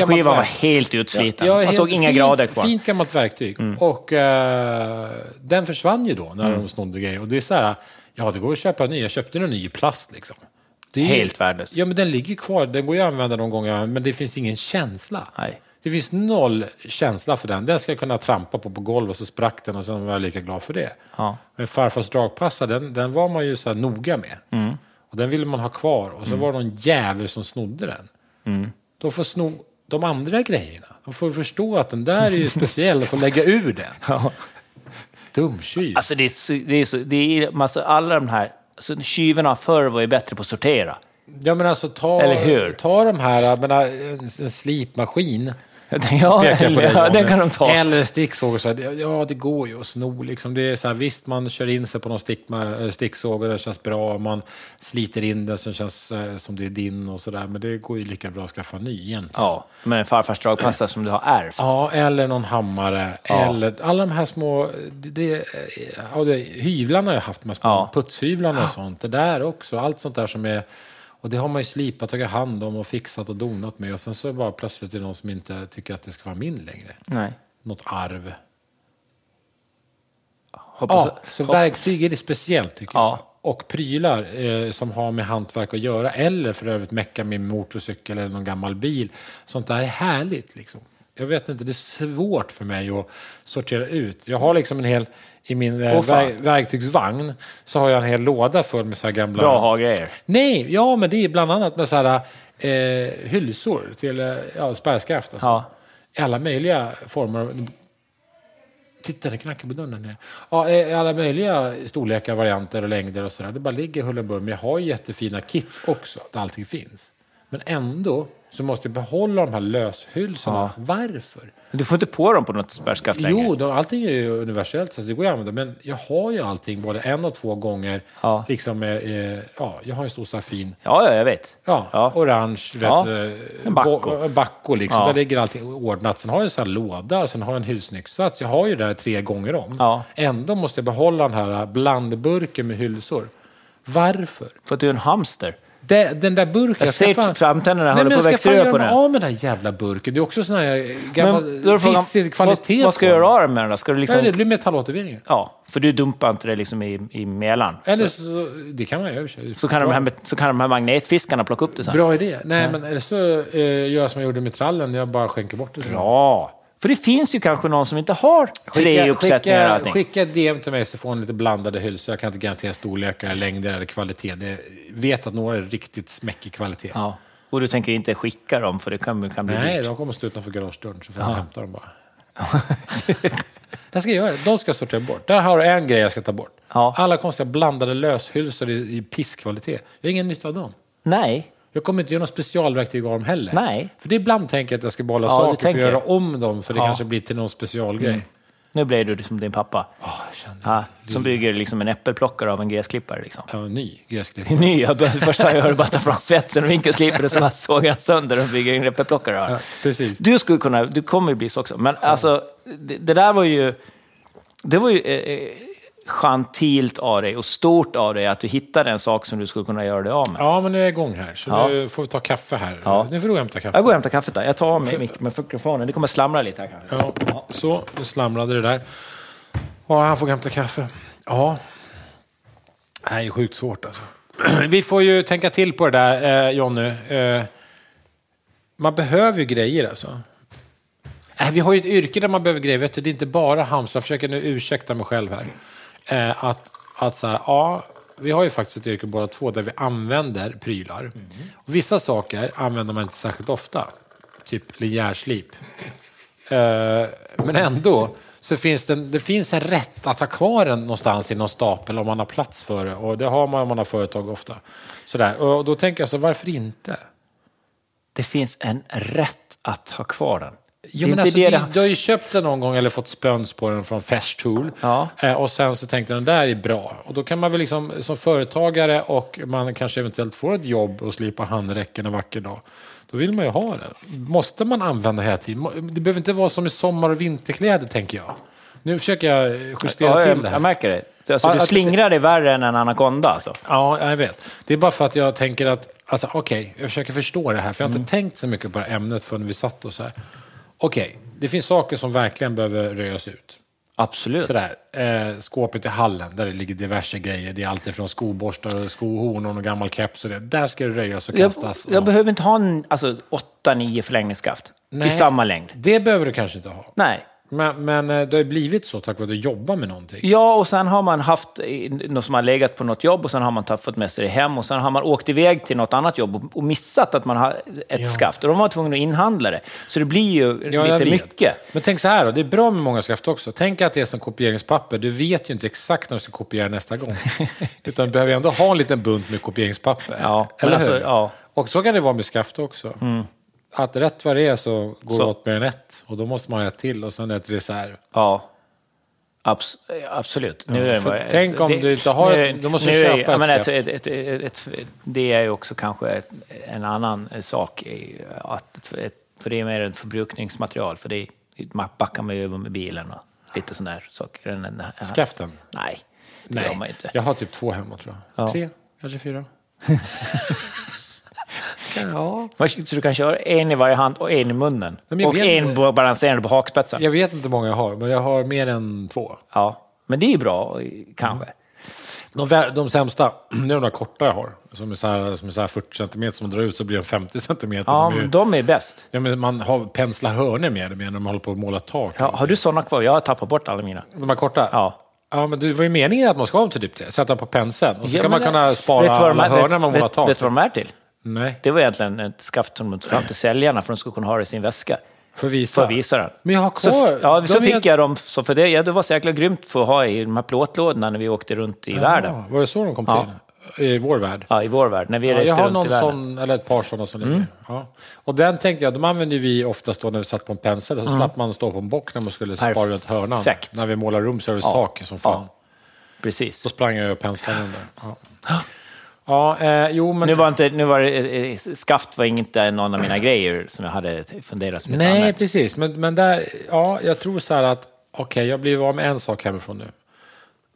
[SPEAKER 1] Gradskivan var
[SPEAKER 2] verk.
[SPEAKER 1] helt utsliten.
[SPEAKER 2] Ja,
[SPEAKER 1] Man
[SPEAKER 2] helt
[SPEAKER 1] såg inga
[SPEAKER 2] fint,
[SPEAKER 1] grader kvar. Mm.
[SPEAKER 2] Fint gammalt verktyg. Och eh, den försvann ju då när de snodde grejer. Och det är så här, ja det går att köpa en ny. Jag köpte en ny i plast liksom. Det är ju-
[SPEAKER 1] Helt värdelös.
[SPEAKER 2] Ja, men den ligger kvar. Den går ju att använda de gånger, men det finns ingen känsla.
[SPEAKER 1] Nej.
[SPEAKER 2] Det finns noll känsla för den. Den ska jag kunna trampa på på golvet och så sprack den och sen var jag lika glad för det.
[SPEAKER 1] Ja.
[SPEAKER 2] Men farfars dragpassa, den, den var man ju så här noga med.
[SPEAKER 1] Mm.
[SPEAKER 2] Och den ville man ha kvar. Och så var det någon jävel som snodde den. De får sno de andra grejerna. De får förstå att den där är ju speciell och får lägga ur den.
[SPEAKER 1] Ja.
[SPEAKER 2] Dumtjuv.
[SPEAKER 1] Alltså det är, så- det är, så, det är massa, alla de här... Alltså, tjuvarna förr var ju bättre på att sortera.
[SPEAKER 2] Ja, men alltså ta,
[SPEAKER 1] Eller hur?
[SPEAKER 2] ta de här, jag menar, en, en slipmaskin.
[SPEAKER 1] Ja,
[SPEAKER 2] pekar på
[SPEAKER 1] eller,
[SPEAKER 2] dig,
[SPEAKER 1] ja
[SPEAKER 2] Johnny.
[SPEAKER 1] den kan de ta.
[SPEAKER 2] Eller en sticksåg. och Så här, det- ja, det går ju att sno. Liksom. Det är så här, visst, man kör in sig på någon stickma, eh, sticksåg och det känns bra. Man sliter in den som känns eh, som det är din och sådär. Men det går ju lika bra att skaffa en ny egentligen.
[SPEAKER 1] Ja, men en farfars dragpassa som du har ärvt.
[SPEAKER 2] Ja, eller någon hammare.
[SPEAKER 1] Ja.
[SPEAKER 2] Eller alla de här små... Det, det, ja, det, hyvlarna har jag haft, de här små
[SPEAKER 1] Ja.
[SPEAKER 2] putshyvlarna och sånt. Det där också, allt sånt där som är... Och det har man ju slipat, tagit hand om och fixat och donat med. Och sen så bara plötsligt är det någon som inte tycker att det ska vara min längre.
[SPEAKER 1] Nej.
[SPEAKER 2] Något arv.
[SPEAKER 1] Hoppas
[SPEAKER 2] Ja, så verktyg är det speciellt tycker jag.
[SPEAKER 1] Ja.
[SPEAKER 2] Och prylar eh, som har med hantverk att göra, eller för övrigt mecka med motorcykel eller någon gammal bil. Sånt där är härligt. Liksom. Jag vet inte, det är svårt för mig att sortera ut. Jag har liksom en hel, i min eh,
[SPEAKER 1] Åh, fan.
[SPEAKER 2] ver- verktygsvagn, så har jag en hel låda full med så här gamla...
[SPEAKER 1] Bra att ha grejer.
[SPEAKER 2] Nej, ja men det är bland annat med så här, eh, hylsor till eh, ja, spärrskaft. Alltså.
[SPEAKER 1] Ja.
[SPEAKER 2] I alla möjliga former. av- Titta, det knackar på dörren. där. Ja, eh, i alla möjliga storlekar, varianter och längder och sådär. Det bara ligger huller om buller. Men jag har ju jättefina kit också, där allting finns. Men ändå så måste jag behålla de här löshylsorna. Varför?
[SPEAKER 1] Du får inte på dem på något spärrskaft längre.
[SPEAKER 2] Jo, de, allting är ju universellt, så det går ju att använda. Men jag har ju allting både en och två gånger.
[SPEAKER 1] Ja.
[SPEAKER 2] Liksom, eh, eh, ja, jag har en stor så här fin
[SPEAKER 1] Ja, ja, jag vet.
[SPEAKER 2] Ja,
[SPEAKER 1] Ja.
[SPEAKER 2] orange, vet,
[SPEAKER 1] Ja,
[SPEAKER 2] eh,
[SPEAKER 1] en Bacco.
[SPEAKER 2] bo- en Bacco liksom.
[SPEAKER 1] Ja.
[SPEAKER 2] Där ligger allting ordnat. Sen har jag en sån här låda, sen har jag en husnycksats. Jag har ju det här tre gånger om.
[SPEAKER 1] Ja.
[SPEAKER 2] Ändå måste jag behålla den här blandburken med hylsor. Varför?
[SPEAKER 1] För att du är en hamster.
[SPEAKER 2] De, den där burken...
[SPEAKER 1] Jag ser
[SPEAKER 2] fan-
[SPEAKER 1] framtänderna
[SPEAKER 2] Nej,
[SPEAKER 1] håller
[SPEAKER 2] men
[SPEAKER 1] på
[SPEAKER 2] jag
[SPEAKER 1] att växa
[SPEAKER 2] ska fan
[SPEAKER 1] ur på
[SPEAKER 2] göra mig
[SPEAKER 1] den.
[SPEAKER 2] av med den här jävla burken. Det är också sån här
[SPEAKER 1] Men
[SPEAKER 2] gammal pissig kvalitet
[SPEAKER 1] vad, vad ska
[SPEAKER 2] på
[SPEAKER 1] jag
[SPEAKER 2] den.
[SPEAKER 1] göra av den med den då? Ska du
[SPEAKER 2] Ja, det
[SPEAKER 1] liksom...
[SPEAKER 2] blir metallåtervinning.
[SPEAKER 1] Ja, för du dumpar inte det liksom i, i melan.
[SPEAKER 2] Eller så, så, det kan man ju i och för sig.
[SPEAKER 1] Så kan, de här, så kan de här magnetfiskarna plocka upp det sen.
[SPEAKER 2] Bra idé. Nej, men eller så eh, gör jag som jag gjorde med trallen. Jag bara skänker bort det.
[SPEAKER 1] Bra! För det finns ju kanske någon som inte har tre uppsättningar och
[SPEAKER 2] skicka,
[SPEAKER 1] allting.
[SPEAKER 2] skicka ett DM till mig så får ni lite blandade hylsor. Jag kan inte garantera storlekar, längder eller kvalitet. Jag vet att några är riktigt smäckig kvalitet.
[SPEAKER 1] Ja. Och du tänker inte skicka dem, för det kan, kan bli
[SPEAKER 2] Nej,
[SPEAKER 1] dyrt.
[SPEAKER 2] de kommer stå utanför garagedörren så får jag hämta dem bara. jag ska göra det. De ska jag sortera bort. Där har du en grej jag ska ta bort.
[SPEAKER 1] Ja.
[SPEAKER 2] Alla konstiga blandade löshylsor i, i pisskvalitet. Jag har ingen nytta av dem.
[SPEAKER 1] Nej.
[SPEAKER 2] Jag kommer inte göra något specialverktyg av dem heller.
[SPEAKER 1] Nej.
[SPEAKER 2] För det är ibland tänker jag att jag ska behålla
[SPEAKER 1] Ja, du
[SPEAKER 2] saker för att
[SPEAKER 1] tänker.
[SPEAKER 2] göra om dem, för det
[SPEAKER 1] Ja.
[SPEAKER 2] kanske blir till någon specialgrej.
[SPEAKER 1] Nu blev du som din pappa.
[SPEAKER 2] Åh, jag kände
[SPEAKER 1] Ja, som bygger liksom en äppelplockare av en gräsklippare. Liksom.
[SPEAKER 2] jag var ny gräsklippare.
[SPEAKER 1] Ny, jag började, första jag hörde bara ta fram svetsen och vinkelslipen och så bara såg jag sönder och bygger en äppelplockare. av.
[SPEAKER 2] precis.
[SPEAKER 1] Du skulle kunna, du kommer ju bli så också. Men alltså, det, det där var ju... Det var ju eh, eh, gentilt av dig och stort av dig att du hittade en sak som du skulle kunna göra dig av med.
[SPEAKER 2] Ja, men nu är jag igång här. Så
[SPEAKER 1] Ja.
[SPEAKER 2] nu får vi ta kaffe här.
[SPEAKER 1] Ja.
[SPEAKER 2] Nu får du hämta kaffe.
[SPEAKER 1] Jag går och hämtar kaffet där. Jag tar av mig mic- med mikrofonen. Det kommer slamra lite här kanske.
[SPEAKER 2] Ja. Så, nu slamrade det där. Ja, han får hämta kaffe. Ja. Det här är sjukt svårt alltså. Vi får ju tänka till på det där, eh, Jonny. Eh, man behöver ju grejer alltså. Äh, vi har ju ett yrke där man behöver grejer. Vet du, det är inte bara hamstra. Jag försöker nu ursäkta mig själv här. Eh, att, att så här, ja, vi har ju faktiskt ett yrke båda två där vi använder prylar. Och vissa saker använder man inte särskilt ofta. Typ linjärslip. Eh, men ändå så finns det, en, det finns en rätt att ha kvar den någonstans i någon stapel om man har plats för det. Och det har man om man har företag ofta. Sådär. Och då tänker jag så, varför inte?
[SPEAKER 1] Det finns en rätt att ha kvar den.
[SPEAKER 2] Jo,
[SPEAKER 1] är
[SPEAKER 2] men
[SPEAKER 1] inte
[SPEAKER 2] alltså,
[SPEAKER 1] det
[SPEAKER 2] du,
[SPEAKER 1] det-
[SPEAKER 2] du har ju köpt den någon gång eller fått spöns på den från Festool.
[SPEAKER 1] Ja.
[SPEAKER 2] Eh, och sen så tänkte den där är bra. Och då kan man väl liksom som företagare och man kanske eventuellt får ett jobb och slipa handräcken en vacker dag. Då vill man ju ha den. Måste man använda hela tiden? Må- Det behöver inte vara som i sommar och vinterkläder tänker jag. Nu försöker jag justera
[SPEAKER 1] Ja,
[SPEAKER 2] till det
[SPEAKER 1] jag, jag
[SPEAKER 2] här.
[SPEAKER 1] märker det. Alltså,
[SPEAKER 2] Ja,
[SPEAKER 1] du
[SPEAKER 2] att-
[SPEAKER 1] slingrar dig värre än en anakonda alltså.
[SPEAKER 2] Ja, jag vet. Det är bara för att jag tänker att, alltså okej, jag försöker förstå det här. För jag har inte
[SPEAKER 1] Mm.
[SPEAKER 2] tänkt så mycket på det här ämnet förrän vi satt oss här. Okej, det finns saker som verkligen behöver röjas ut.
[SPEAKER 1] Absolut.
[SPEAKER 2] Sådär, eh, skåpet i hallen där det ligger diverse grejer. Det är allt ifrån skoborstar och skohorn och någon gammal keps och det. Där ska det röjas och
[SPEAKER 1] Jag,
[SPEAKER 2] kastas.
[SPEAKER 1] jag behöver inte ha en alltså, 8-9 förlängningsskaft
[SPEAKER 2] Nej.
[SPEAKER 1] i samma längd.
[SPEAKER 2] det behöver du kanske inte ha.
[SPEAKER 1] Nej.
[SPEAKER 2] Men, men eh, det har ju blivit så tack vare att du jobbar med någonting.
[SPEAKER 1] Ja, och sen har man haft eh, något som har legat på något jobb och sen har man tagit- fått med sig det hem och sen har man åkt iväg till något annat jobb och- och missat att man har ett skaft. Och de var tvungna att inhandla det. Så det blir ju
[SPEAKER 2] Ja, jag
[SPEAKER 1] lite
[SPEAKER 2] vet.
[SPEAKER 1] mycket.
[SPEAKER 2] Men tänk så här då, det är bra med många skaft också. Tänk att det är som kopieringspapper. Du vet ju inte exakt när du ska kopiera nästa gång. Utan du behöver ju ändå ha en liten bunt med kopieringspapper.
[SPEAKER 1] Ja, men
[SPEAKER 2] Eller
[SPEAKER 1] alltså,
[SPEAKER 2] hur?
[SPEAKER 1] ja. Mm.
[SPEAKER 2] Och så kan det vara med skaft också. Att rätt vad det är så går
[SPEAKER 1] Så.
[SPEAKER 2] det åt mer än ett. Och då måste man ha ett till och sen ett reserv.
[SPEAKER 1] Ja, Abs eh, absolut. Nu är det
[SPEAKER 2] för
[SPEAKER 1] bara-
[SPEAKER 2] tänk om du inte har ett- då måste du
[SPEAKER 1] nu är-
[SPEAKER 2] köpa
[SPEAKER 1] ja,
[SPEAKER 2] ett
[SPEAKER 1] men
[SPEAKER 2] skaft.
[SPEAKER 1] ett, ett, ett, ett, Det är ju också kanske ett, en annan eh, sak. eh, Att, för ett, för det är mer ett förbrukningsmaterial. För det man backar man ju över med bilen och lite sådana här saker. Den- den här-
[SPEAKER 2] Skaften?
[SPEAKER 1] Nej, det gör man ju inte.
[SPEAKER 2] Jag har typ två hemma tror jag.
[SPEAKER 1] Ja.
[SPEAKER 2] Tre, kanske fyra. ja.
[SPEAKER 1] Man- Så du kan köra en i varje hand och en i munnen.
[SPEAKER 2] Men jag
[SPEAKER 1] Och
[SPEAKER 2] vet
[SPEAKER 1] en bo- balanserad på hakspetsen.
[SPEAKER 2] Jag vet inte hur många jag har, men jag har mer än två.
[SPEAKER 1] Ja, men det är ju bra eh, kanske.
[SPEAKER 2] Mm. De, vä- de sämsta, det är de där korta jag har. Som är så här, som är så här 40 centimeter som drar ut så blir de 50 centimeter.
[SPEAKER 1] Ja,
[SPEAKER 2] de är, ju-
[SPEAKER 1] men de är bäst.
[SPEAKER 2] ja, men man har pensla hörnor med dem när man håller på att måla tak.
[SPEAKER 1] Ja, har du sådana kvar? Jag har tappat bort alla mina.
[SPEAKER 2] De här korta?
[SPEAKER 1] Ja.
[SPEAKER 2] Ja, men det var ju meningen att man ska ha dem till typ det. Sätta på penseln. Och så
[SPEAKER 1] Ja,
[SPEAKER 2] kan man
[SPEAKER 1] men
[SPEAKER 2] kunna
[SPEAKER 1] det-
[SPEAKER 2] spara
[SPEAKER 1] vet du vad de
[SPEAKER 2] alla
[SPEAKER 1] är-
[SPEAKER 2] hörnor när man målar
[SPEAKER 1] vet,
[SPEAKER 2] tak.
[SPEAKER 1] Vet du vad de är till?
[SPEAKER 2] Nej,
[SPEAKER 1] Det var egentligen ett skaft som de tog fram till säljarna för att de skulle kunna ha det i sin väska.
[SPEAKER 2] för att visa.
[SPEAKER 1] För att visa den.
[SPEAKER 2] Men jag har
[SPEAKER 1] Så,
[SPEAKER 2] kvar.
[SPEAKER 1] ja,
[SPEAKER 2] De
[SPEAKER 1] så
[SPEAKER 2] är-
[SPEAKER 1] fick jag dem, så för det, ja, det var så jäkla grymt för att ha i de här plåtlådorna när vi åkte runt i världen.
[SPEAKER 2] Ja, var det så de kom till? I vår värld?
[SPEAKER 1] Ja, i vår värld, när vi
[SPEAKER 2] Ja, jag
[SPEAKER 1] reste
[SPEAKER 2] har
[SPEAKER 1] runt i
[SPEAKER 2] någon
[SPEAKER 1] världen. Mm.
[SPEAKER 2] sån, eller ett par sådana som ligger. Ja. Och den tänkte jag, de använde ju vi oftast då när vi satt på en pensel. Och så slapp man stå på en bock när man skulle spara runt hörnan.
[SPEAKER 1] Mm. Perfekt.
[SPEAKER 2] När vi målar roomservice-tak som fan.
[SPEAKER 1] Precis.
[SPEAKER 2] Då sprang jag och penslade den där. Ja, ja eh, jo men...
[SPEAKER 1] Nu var, inte, nu var det, eh, eh, skaft var inte någon av mina grejer som jag hade funderat som ett
[SPEAKER 2] Nej,
[SPEAKER 1] annat.
[SPEAKER 2] precis. Men, men där, ja, jag tror så här att, okej, jag blir av med en sak hemifrån nu.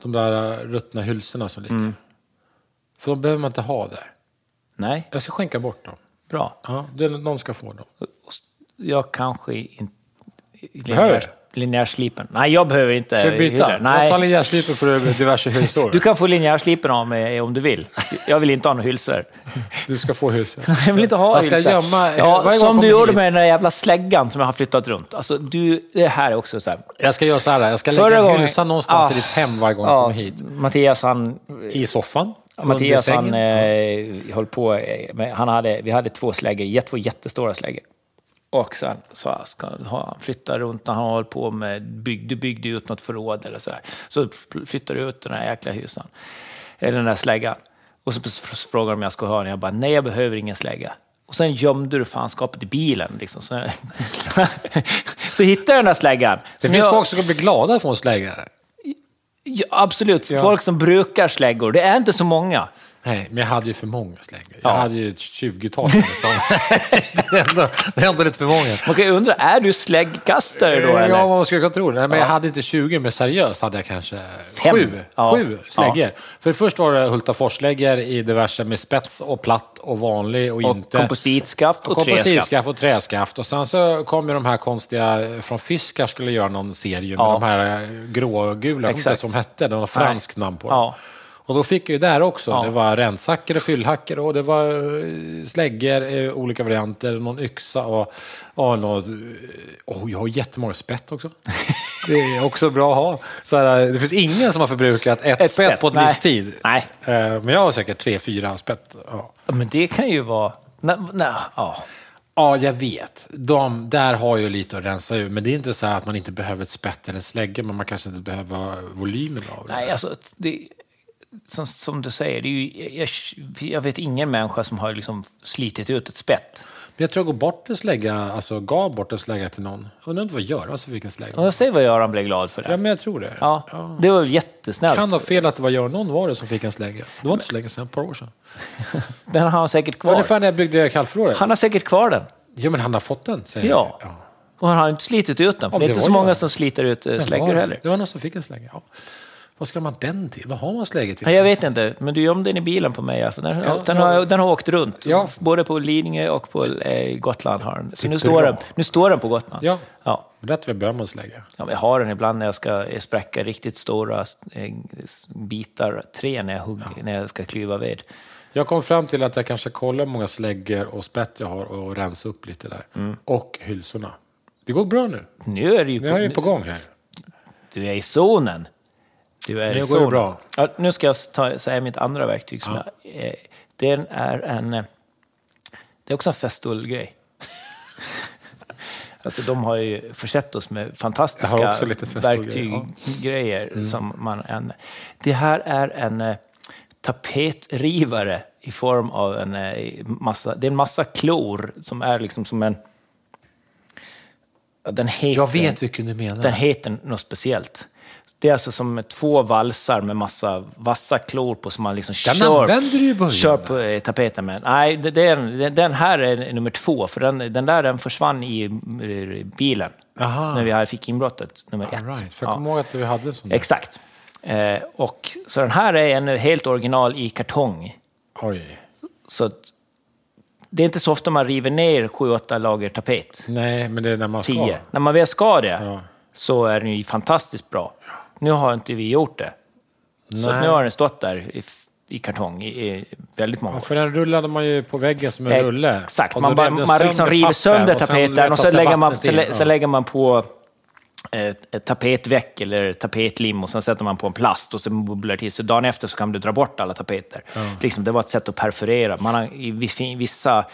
[SPEAKER 2] De där eh, ruttna hylsorna som ligger.
[SPEAKER 1] Mm.
[SPEAKER 2] För de behöver man inte ha där.
[SPEAKER 1] Nej,
[SPEAKER 2] Jag ska skänka bort dem.
[SPEAKER 1] bra.
[SPEAKER 2] Ja, det, någon ska få dem.
[SPEAKER 1] Jag kanske inte...
[SPEAKER 2] Behöver
[SPEAKER 1] linjär- Linjärslipen. Nej, jag behöver inte...
[SPEAKER 2] Ska vi byta?
[SPEAKER 1] hyllor.
[SPEAKER 2] Jag tar
[SPEAKER 1] Nej,
[SPEAKER 2] linjärslipen för över diverse hylsor.
[SPEAKER 1] Du
[SPEAKER 2] Du,
[SPEAKER 1] kan få linjärslipen av mig eh, om du vill. Jag vill inte ha några hylsor.
[SPEAKER 2] ska få hylsor.
[SPEAKER 1] Jag vill inte ha
[SPEAKER 2] Jag ska
[SPEAKER 1] hylsor.
[SPEAKER 2] gömma- varje
[SPEAKER 1] ja,
[SPEAKER 2] gång
[SPEAKER 1] Som
[SPEAKER 2] kommer
[SPEAKER 1] du gjorde
[SPEAKER 2] hit.
[SPEAKER 1] med den där jävla släggan som jag har flyttat runt. Alltså, du, det här är också så här...
[SPEAKER 2] Jag ska göra så här, jag ska lägga
[SPEAKER 1] Förra
[SPEAKER 2] en
[SPEAKER 1] gången-
[SPEAKER 2] hylsa någonstans
[SPEAKER 1] Ah.
[SPEAKER 2] i ditt hem varje gång du
[SPEAKER 1] Ja,
[SPEAKER 2] kommer hit.
[SPEAKER 1] Mattias, han...
[SPEAKER 2] I soffan,
[SPEAKER 1] Mattias,
[SPEAKER 2] under
[SPEAKER 1] han
[SPEAKER 2] sängen.
[SPEAKER 1] eh, höll på... eh, med- Han hade, vi hade två släggor, jät- två jättestora släggor. Och sen så ska ha- han flytta runt när han höll på med... Bygg, du byggde ut något förråd eller sådär. Så flyttade du ut den här jäkla hysan. Eller den där släggan. Och så f- frågade de om jag skulle ha den. Jag bara, nej jag behöver ingen slägga. Och sen gömde du fanskapet i bilen. Liksom. Så, så hittade jag den där släggan.
[SPEAKER 2] Det
[SPEAKER 1] Som
[SPEAKER 2] finns
[SPEAKER 1] jag-
[SPEAKER 2] folk som kommer bli glada för en slägga.
[SPEAKER 1] Ja, absolut, folk som brukar släggor. Det är inte så många.
[SPEAKER 2] Nej, men jag hade ju för många släggor. Jag hade ju ett 20-tal. nästan. det, är ändå, det är ändå lite för många.
[SPEAKER 1] Man kan ju undra, är du släggkastare då? Eller?
[SPEAKER 2] Ja, vad skulle Eh, jag kunna tro? Nej, men jag hade inte 20, men seriöst hade jag kanske
[SPEAKER 1] Fem.
[SPEAKER 2] sju,
[SPEAKER 1] Ja.
[SPEAKER 2] sju släggor. För först var det Hultaforsläggor i diverse med spets och platt och vanlig och,
[SPEAKER 1] och
[SPEAKER 2] inte.
[SPEAKER 1] kompositskaft och, träskaft.
[SPEAKER 2] Kompositskaft och träskaft. Och sen så kom ju de här konstiga från Fiskar skulle göra någon serie med
[SPEAKER 1] Ja.
[SPEAKER 2] de här grågula, jag kommer inte
[SPEAKER 1] Exakt.
[SPEAKER 2] ens vad de hette, de har franskt namn på dem.
[SPEAKER 1] Ja.
[SPEAKER 2] Och då fick jag ju där också.
[SPEAKER 1] Ja.
[SPEAKER 2] Det var rensacker och fyllhacker och det var eh, släggor, eh, olika varianter, någon yxa och, och något. Oh, jag har jättemånga spett också. Det är också bra att ha. Så här, eh, det finns ingen som har förbrukat ett,
[SPEAKER 1] Ett
[SPEAKER 2] spett
[SPEAKER 1] spett,
[SPEAKER 2] på ett
[SPEAKER 1] nej.
[SPEAKER 2] livstid.
[SPEAKER 1] Nej.
[SPEAKER 2] Eh, Men jag har säkert tre, fyra spett. Ja.
[SPEAKER 1] Ja, Men det kan ju vara... Nej, nej, ja.
[SPEAKER 2] Ja, jag vet. De, där har jag lite att rensa ur. Men det är inte så här att man inte behöver ett spett eller en slägga, men man kanske inte behöver volymen av det.
[SPEAKER 1] Nej, alltså, det, som, som du säger, det är ju, jag, jag vet ingen människa som har liksom slitit ut ett spett.
[SPEAKER 2] Men jag tror jag går bort en slägga, alltså gav bort en slägga till någon. Jag Undrar inte vad Göran som fick en
[SPEAKER 1] Och
[SPEAKER 2] slägga.
[SPEAKER 1] jag säger vad Göran blev glad för.
[SPEAKER 2] Ja,
[SPEAKER 1] Det.
[SPEAKER 2] men jag tror det.
[SPEAKER 1] Ja, det var väl jättesnällt.
[SPEAKER 2] Kan ha fel att det var Göran. Någon var det som fick en slägga. Det var inte så länge sedan, ett par år sedan.
[SPEAKER 1] Den har han säkert
[SPEAKER 2] Det
[SPEAKER 1] kvar.
[SPEAKER 2] var ungefär när jag byggde kallförrådet.
[SPEAKER 1] Han har säkert kvar den.
[SPEAKER 2] Ja, men han har fått den, säger
[SPEAKER 1] Ja.
[SPEAKER 2] jag.
[SPEAKER 1] Och han har inte slitit ut den, för
[SPEAKER 2] Om
[SPEAKER 1] det är
[SPEAKER 2] det
[SPEAKER 1] inte
[SPEAKER 2] var
[SPEAKER 1] så många
[SPEAKER 2] Göran.
[SPEAKER 1] som sliter ut eh,
[SPEAKER 2] Men
[SPEAKER 1] släggor
[SPEAKER 2] var-
[SPEAKER 1] heller.
[SPEAKER 2] Det var någon som fick en slägga, ja. Vad ska man ha den till? Vad har man släggor till?
[SPEAKER 1] Nej, jag vet inte, men du gömde den i bilen på mig. i alla fall. Den,
[SPEAKER 2] Ja,
[SPEAKER 1] den,
[SPEAKER 2] ja.
[SPEAKER 1] har, den har åkt runt,
[SPEAKER 2] Ja.
[SPEAKER 1] både på Lidingö och på eh, Gotland. Har den. Så nu
[SPEAKER 2] är
[SPEAKER 1] står
[SPEAKER 2] bra.
[SPEAKER 1] den, nu står den på Gotland.
[SPEAKER 2] Ja,
[SPEAKER 1] Ja.
[SPEAKER 2] rätt vid början med en slägga.
[SPEAKER 1] Ja, men jag har den ibland när jag ska eh, spräcka riktigt stora eh, s- bitar trä när jag, hugger, när jag ska klyva ved.
[SPEAKER 2] Jag kom fram till att jag kanske kollar hur många släggor och spett jag har och rensa upp lite där.
[SPEAKER 1] Mm.
[SPEAKER 2] Och hylsorna. Det går bra nu.
[SPEAKER 1] Nu är det ju
[SPEAKER 2] Nu är jag ju på gång här.
[SPEAKER 1] Du är i zonen. Du är
[SPEAKER 2] Nu
[SPEAKER 1] i
[SPEAKER 2] går
[SPEAKER 1] zonen.
[SPEAKER 2] det bra.
[SPEAKER 1] Ja, nu ska jag ta, säga mitt andra verktyg. Som jag, eh, den är en... eh, Det är också en festullgrej. alltså, de har ju försett oss med
[SPEAKER 2] Jag har
[SPEAKER 1] fantastiska
[SPEAKER 2] också lite Mm. festullgrejer,
[SPEAKER 1] verktyggrejer. Som man en, det här är en eh, tapetrivare i form av en eh, massa... Det är en massa klor som är liksom som en... ja, Den heter,
[SPEAKER 2] Jag vet vilken du menar.
[SPEAKER 1] den heter något speciellt. Det är alltså som två valsar med massa vassa klor på som man liksom
[SPEAKER 2] Den
[SPEAKER 1] kör,
[SPEAKER 2] använder du ju i början.
[SPEAKER 1] kör på eh, tapeten med. Nej, det, det är, den- den här är nummer två, för den, den där den försvann i eh, bilen
[SPEAKER 2] Aha.
[SPEAKER 1] när vi här fick inbrottet, nummer ett.
[SPEAKER 2] All right. För jag
[SPEAKER 1] Ja.
[SPEAKER 2] kommer ihåg att du hade en sån. där.
[SPEAKER 1] Exakt. Eh, och, så den här är en helt original i kartong.
[SPEAKER 2] Oj.
[SPEAKER 1] Så att, det är inte så ofta man river ner 7-8 lager tapet.
[SPEAKER 2] Nej, men det är när man ska.
[SPEAKER 1] 10. När man väl ska det
[SPEAKER 2] Ja.
[SPEAKER 1] så är den ju fantastiskt bra. Nu har inte vi gjort det. Så
[SPEAKER 2] Nej.
[SPEAKER 1] att nu har den stått där i, i kartong i, i väldigt många
[SPEAKER 2] Ja,
[SPEAKER 1] år.
[SPEAKER 2] för den rullade man ju på väggen som en rulle.
[SPEAKER 1] Eh, Exakt,
[SPEAKER 2] Och
[SPEAKER 1] man,
[SPEAKER 2] då
[SPEAKER 1] bara,
[SPEAKER 2] rev den
[SPEAKER 1] man liksom river
[SPEAKER 2] papper
[SPEAKER 1] sönder
[SPEAKER 2] och sen
[SPEAKER 1] tapeten och sen
[SPEAKER 2] letar sig
[SPEAKER 1] lägger, man,
[SPEAKER 2] vattnet
[SPEAKER 1] sen,
[SPEAKER 2] in.
[SPEAKER 1] lä- sen lägger man på eh, ett, ett tapetväck eller tapetlim och sen sätter man på en plast och sen bubblar det till. Så dagen efter så kan du dra bort alla tapeter. Liksom, det var ett sätt att perforera. Man har, i vi- vissa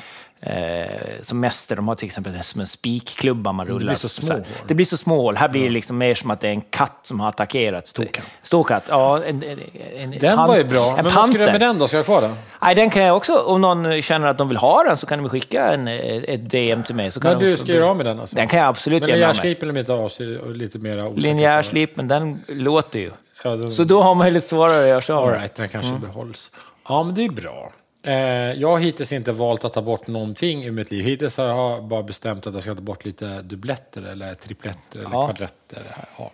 [SPEAKER 1] eh, som mäster, de har till exempel det som en spikklubba man rullar.
[SPEAKER 2] blir så små
[SPEAKER 1] här.
[SPEAKER 2] hål.
[SPEAKER 1] Det blir så små hål. Här blir det liksom mer som att det är en katt som har attackerat. Stor
[SPEAKER 2] katt.
[SPEAKER 1] Stor katt, ja. En, en, en,
[SPEAKER 2] Den
[SPEAKER 1] pan-
[SPEAKER 2] var ju bra.
[SPEAKER 1] En
[SPEAKER 2] Men vad ska du göra
[SPEAKER 1] panter.
[SPEAKER 2] med den då? Ska jag ha kvar den?
[SPEAKER 1] Nej, den kan jag också. Om någon känner att de vill ha den så kan de skicka en, ett DM till mig. Så kan
[SPEAKER 2] Men
[SPEAKER 1] de
[SPEAKER 2] du
[SPEAKER 1] få-
[SPEAKER 2] ska göra av med den alltså?
[SPEAKER 1] Den kan jag absolut
[SPEAKER 2] Men
[SPEAKER 1] göra av mig.
[SPEAKER 2] linjärslipen är lite avsig och lite mer osäker.
[SPEAKER 1] Linjärslip, men den låter ju.
[SPEAKER 2] Ja, den-
[SPEAKER 1] Så då har man ju lite svårare att göra sig av
[SPEAKER 2] All
[SPEAKER 1] med.
[SPEAKER 2] right, den
[SPEAKER 1] Mm.
[SPEAKER 2] kanske behålls. Ja, men det är bra. Eh, jag har hittills inte valt att ta bort någonting ur mitt liv. Hittills har jag bara bestämt att jag ska ta bort lite dubbletter eller tripletter eller
[SPEAKER 1] Ja.
[SPEAKER 2] kvadretter. Ja.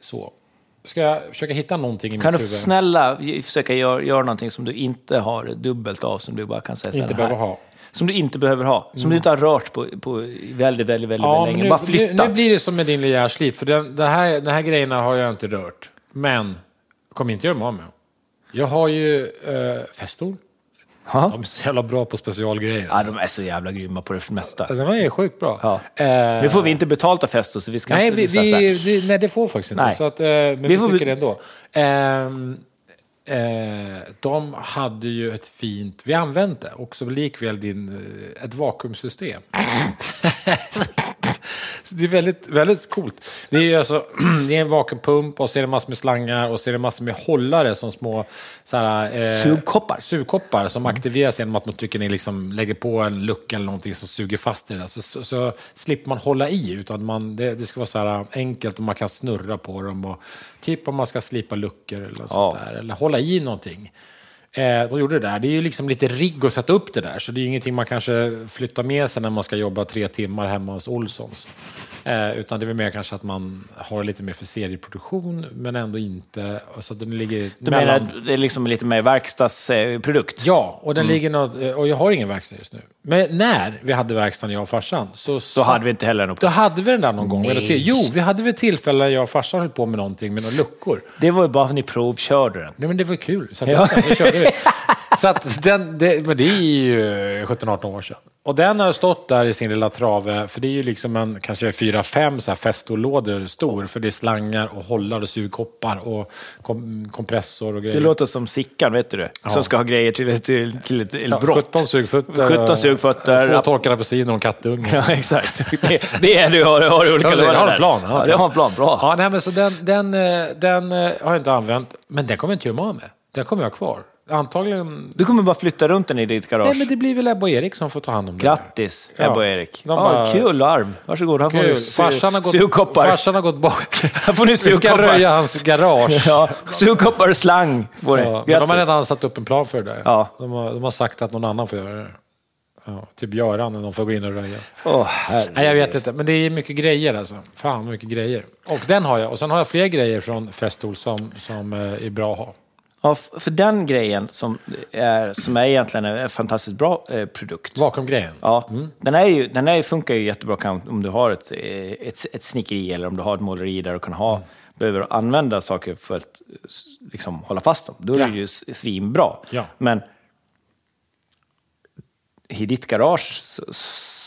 [SPEAKER 2] Så. Ska jag försöka hitta någonting i
[SPEAKER 1] Kan du
[SPEAKER 2] mitt huvud?
[SPEAKER 1] snälla ge- försöka göra, göra någonting som du inte har dubbelt av, som du bara kan säga så här,
[SPEAKER 2] Inte
[SPEAKER 1] "Den här."
[SPEAKER 2] behöver ha. Mm.
[SPEAKER 1] Som du inte behöver ha. Som du inte har rört på, på väldigt, väldigt, väldigt,
[SPEAKER 2] Ja, men
[SPEAKER 1] länge.
[SPEAKER 2] nu,
[SPEAKER 1] Bara
[SPEAKER 2] nu,
[SPEAKER 1] flyttat.
[SPEAKER 2] nu blir det som med din linjärslip, för den, det här, de här grejerna har jag inte rört. Men, kom inte göra mig av med dem. Jag har ju eh, festor.
[SPEAKER 1] Ja.
[SPEAKER 2] De är så jävla bra på specialgrejer.
[SPEAKER 1] ja, de är så jävla grymma på det mesta.
[SPEAKER 2] Den var ju sjukt bra.
[SPEAKER 1] Ja.
[SPEAKER 2] Eh,
[SPEAKER 1] Nu får vi inte betalt av Festo, så vi ska
[SPEAKER 2] Nej,
[SPEAKER 1] inte...
[SPEAKER 2] vi,
[SPEAKER 1] så här-
[SPEAKER 2] vi, vi, nej, det får faktiskt inte.
[SPEAKER 1] Nej.
[SPEAKER 2] Så att, eh, men vi,
[SPEAKER 1] får
[SPEAKER 2] tycker
[SPEAKER 1] bli-
[SPEAKER 2] det ändå. Ehm, eh, de hade ju ett fint... Vi använde det också likväl din, eh, ett vakuumsystem. det är väldigt, väldigt coolt. Det är ju alltså, det är en vakuumpump och så är det massor med slangar och så är det massor med hållare som små... Så här, eh,
[SPEAKER 1] Sugkoppar. Mm.
[SPEAKER 2] sugkoppar som aktiveras genom att man trycker ner, liksom, lägger på en lucka eller någonting som suger fast i det. där. Så, så, så slipper man hålla i, utan man, det, det ska vara så här äh, enkelt och man kan snurra på dem. Och, typ om man ska slipa luckor eller
[SPEAKER 1] Ja.
[SPEAKER 2] sånt där, eller hålla i någonting. Eh, de gjorde det där. Det är ju liksom lite rigg att sätta upp det där, så det är ju ingenting man kanske flyttar med sig när man ska jobba tre timmar hemma hos Olssons. Eh, utan det är väl mer kanske att man har lite mer för serieproduktion, men ändå inte... Så att den ligger
[SPEAKER 1] Du menar att det är liksom lite mer verkstadsprodukt?
[SPEAKER 2] Ja, och den
[SPEAKER 1] Mm.
[SPEAKER 2] ligger något, och jag har ingen verkstad just nu. Men när vi hade verkstaden, jag och farsan, så...
[SPEAKER 1] Då hade vi inte heller en
[SPEAKER 2] Då
[SPEAKER 1] option.
[SPEAKER 2] hade vi den där någon gång.
[SPEAKER 1] Nej.
[SPEAKER 2] Eller till, jo, vi hade väl tillfälle jag och farsan höll på med någonting, med några luckor.
[SPEAKER 1] Det var ju bara för att ni provkörde den.
[SPEAKER 2] Nej, men det var ju kul. Så att, det körde vi. Så att den, det, men det är ju 17-18 år sedan. Och den har stått där i sin lilla trave, för det är ju liksom en kanske 4-5 så här festolådor stor, för det är slangar och hållar och sugkoppar och kom, kompressor och grejer.
[SPEAKER 1] Det låter som Sickan, vet du Som ska ha grejer till ett, till, till ett, till
[SPEAKER 2] Ja,
[SPEAKER 1] ett brott.
[SPEAKER 2] 17 sugfötter. eh,
[SPEAKER 1] 17 sugfötter.
[SPEAKER 2] Två torkade apelsiner och en kattunge.
[SPEAKER 1] Ja, exakt. Det, det är du har, har du olika
[SPEAKER 2] Ja, det
[SPEAKER 1] lådor
[SPEAKER 2] har en
[SPEAKER 1] där.
[SPEAKER 2] plan,
[SPEAKER 1] Ja, det har en plan. Bra.
[SPEAKER 2] Ja, nej, men så den, den, eh, den eh, har jag inte använt, men den kommer jag inte göra mig av med. Den kommer jag ha kvar. Antagligen...
[SPEAKER 1] Du kommer bara flytta runt den i ditt garage.
[SPEAKER 2] Nej, men det blir väl Ebba och Erik som får ta hand om den. där.
[SPEAKER 1] Grattis,
[SPEAKER 2] Ja.
[SPEAKER 1] Ebba och Erik.
[SPEAKER 2] De
[SPEAKER 1] Ja,
[SPEAKER 2] bara-
[SPEAKER 1] Kul arv. Varsågod, här får
[SPEAKER 2] Kul.
[SPEAKER 1] du su-
[SPEAKER 2] Farsan har, gått,
[SPEAKER 1] sugkoppar.
[SPEAKER 2] farsan har gått bort.
[SPEAKER 1] Här får ni
[SPEAKER 2] Vi ska
[SPEAKER 1] sugkoppar.
[SPEAKER 2] röja hans garage.
[SPEAKER 1] Ja, sugkoppar och slang får ni.
[SPEAKER 2] Ja,
[SPEAKER 1] Grattis.
[SPEAKER 2] men de har redan satt upp en plan för det där.
[SPEAKER 1] Ja.
[SPEAKER 2] De, har, de har sagt att någon annan får göra det. Ja, typ Göran, när de får gå in och röja.
[SPEAKER 1] Åh, herregud.
[SPEAKER 2] Nej, jag vet inte, men det är mycket grejer alltså. Fan, vad mycket grejer. Och den har jag. Och sen har jag fler grejer från Festool som, som eh, är bra att ha.
[SPEAKER 1] Ja, f- för den grejen som är, som är egentligen en fantastiskt bra eh, produkt.
[SPEAKER 2] Vakuumgrejen.
[SPEAKER 1] Ja, den, är ju, den är, funkar ju jättebra kan- om du har ett, eh, ett, ett snickeri eller om du har ett måleri där du kan ha, behöver använda saker för att eh, s- liksom, hålla fast dem. Då är
[SPEAKER 2] Ja.
[SPEAKER 1] det ju s- svinbra.
[SPEAKER 2] Ja.
[SPEAKER 1] Men i ditt garage så,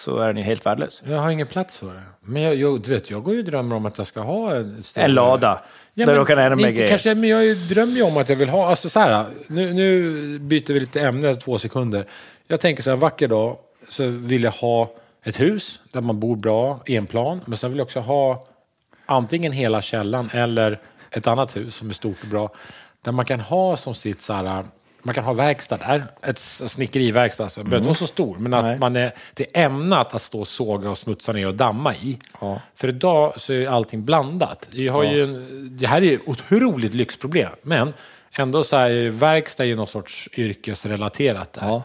[SPEAKER 1] så är den ju helt värdelös.
[SPEAKER 2] Jag har ingen plats för det. Men jag, jag, du vet, jag går ju och drömmer om att jag ska ha en stor...
[SPEAKER 1] En lada
[SPEAKER 2] Ja,
[SPEAKER 1] där
[SPEAKER 2] men
[SPEAKER 1] du kan ha de här
[SPEAKER 2] inte
[SPEAKER 1] grejerna.
[SPEAKER 2] Kanske, men jag drömmer ju om att jag vill ha... Alltså så här, nu, nu byter vi lite ämne två sekunder. Jag tänker så här, en vacker dag så vill jag ha ett hus där man bor bra, enplan. Men sen vill jag också ha antingen hela källan eller ett annat hus som är stort och bra. Där man kan ha som sitt så här... Man kan ha verkstad där, ett s- snickeriverkstad. Alltså. Det behöver inte vara så stor, men att
[SPEAKER 1] Mm. Nej.
[SPEAKER 2] man är, det är ämnat att stå och såga och smutsa ner och damma i.
[SPEAKER 1] Ja.
[SPEAKER 2] För idag så är ju allting blandat. Vi har ju en, det här är ju ett otroligt lyxproblem, men ändå så är ju verkstad är ju någon sorts yrkesrelaterat där.
[SPEAKER 1] Ja.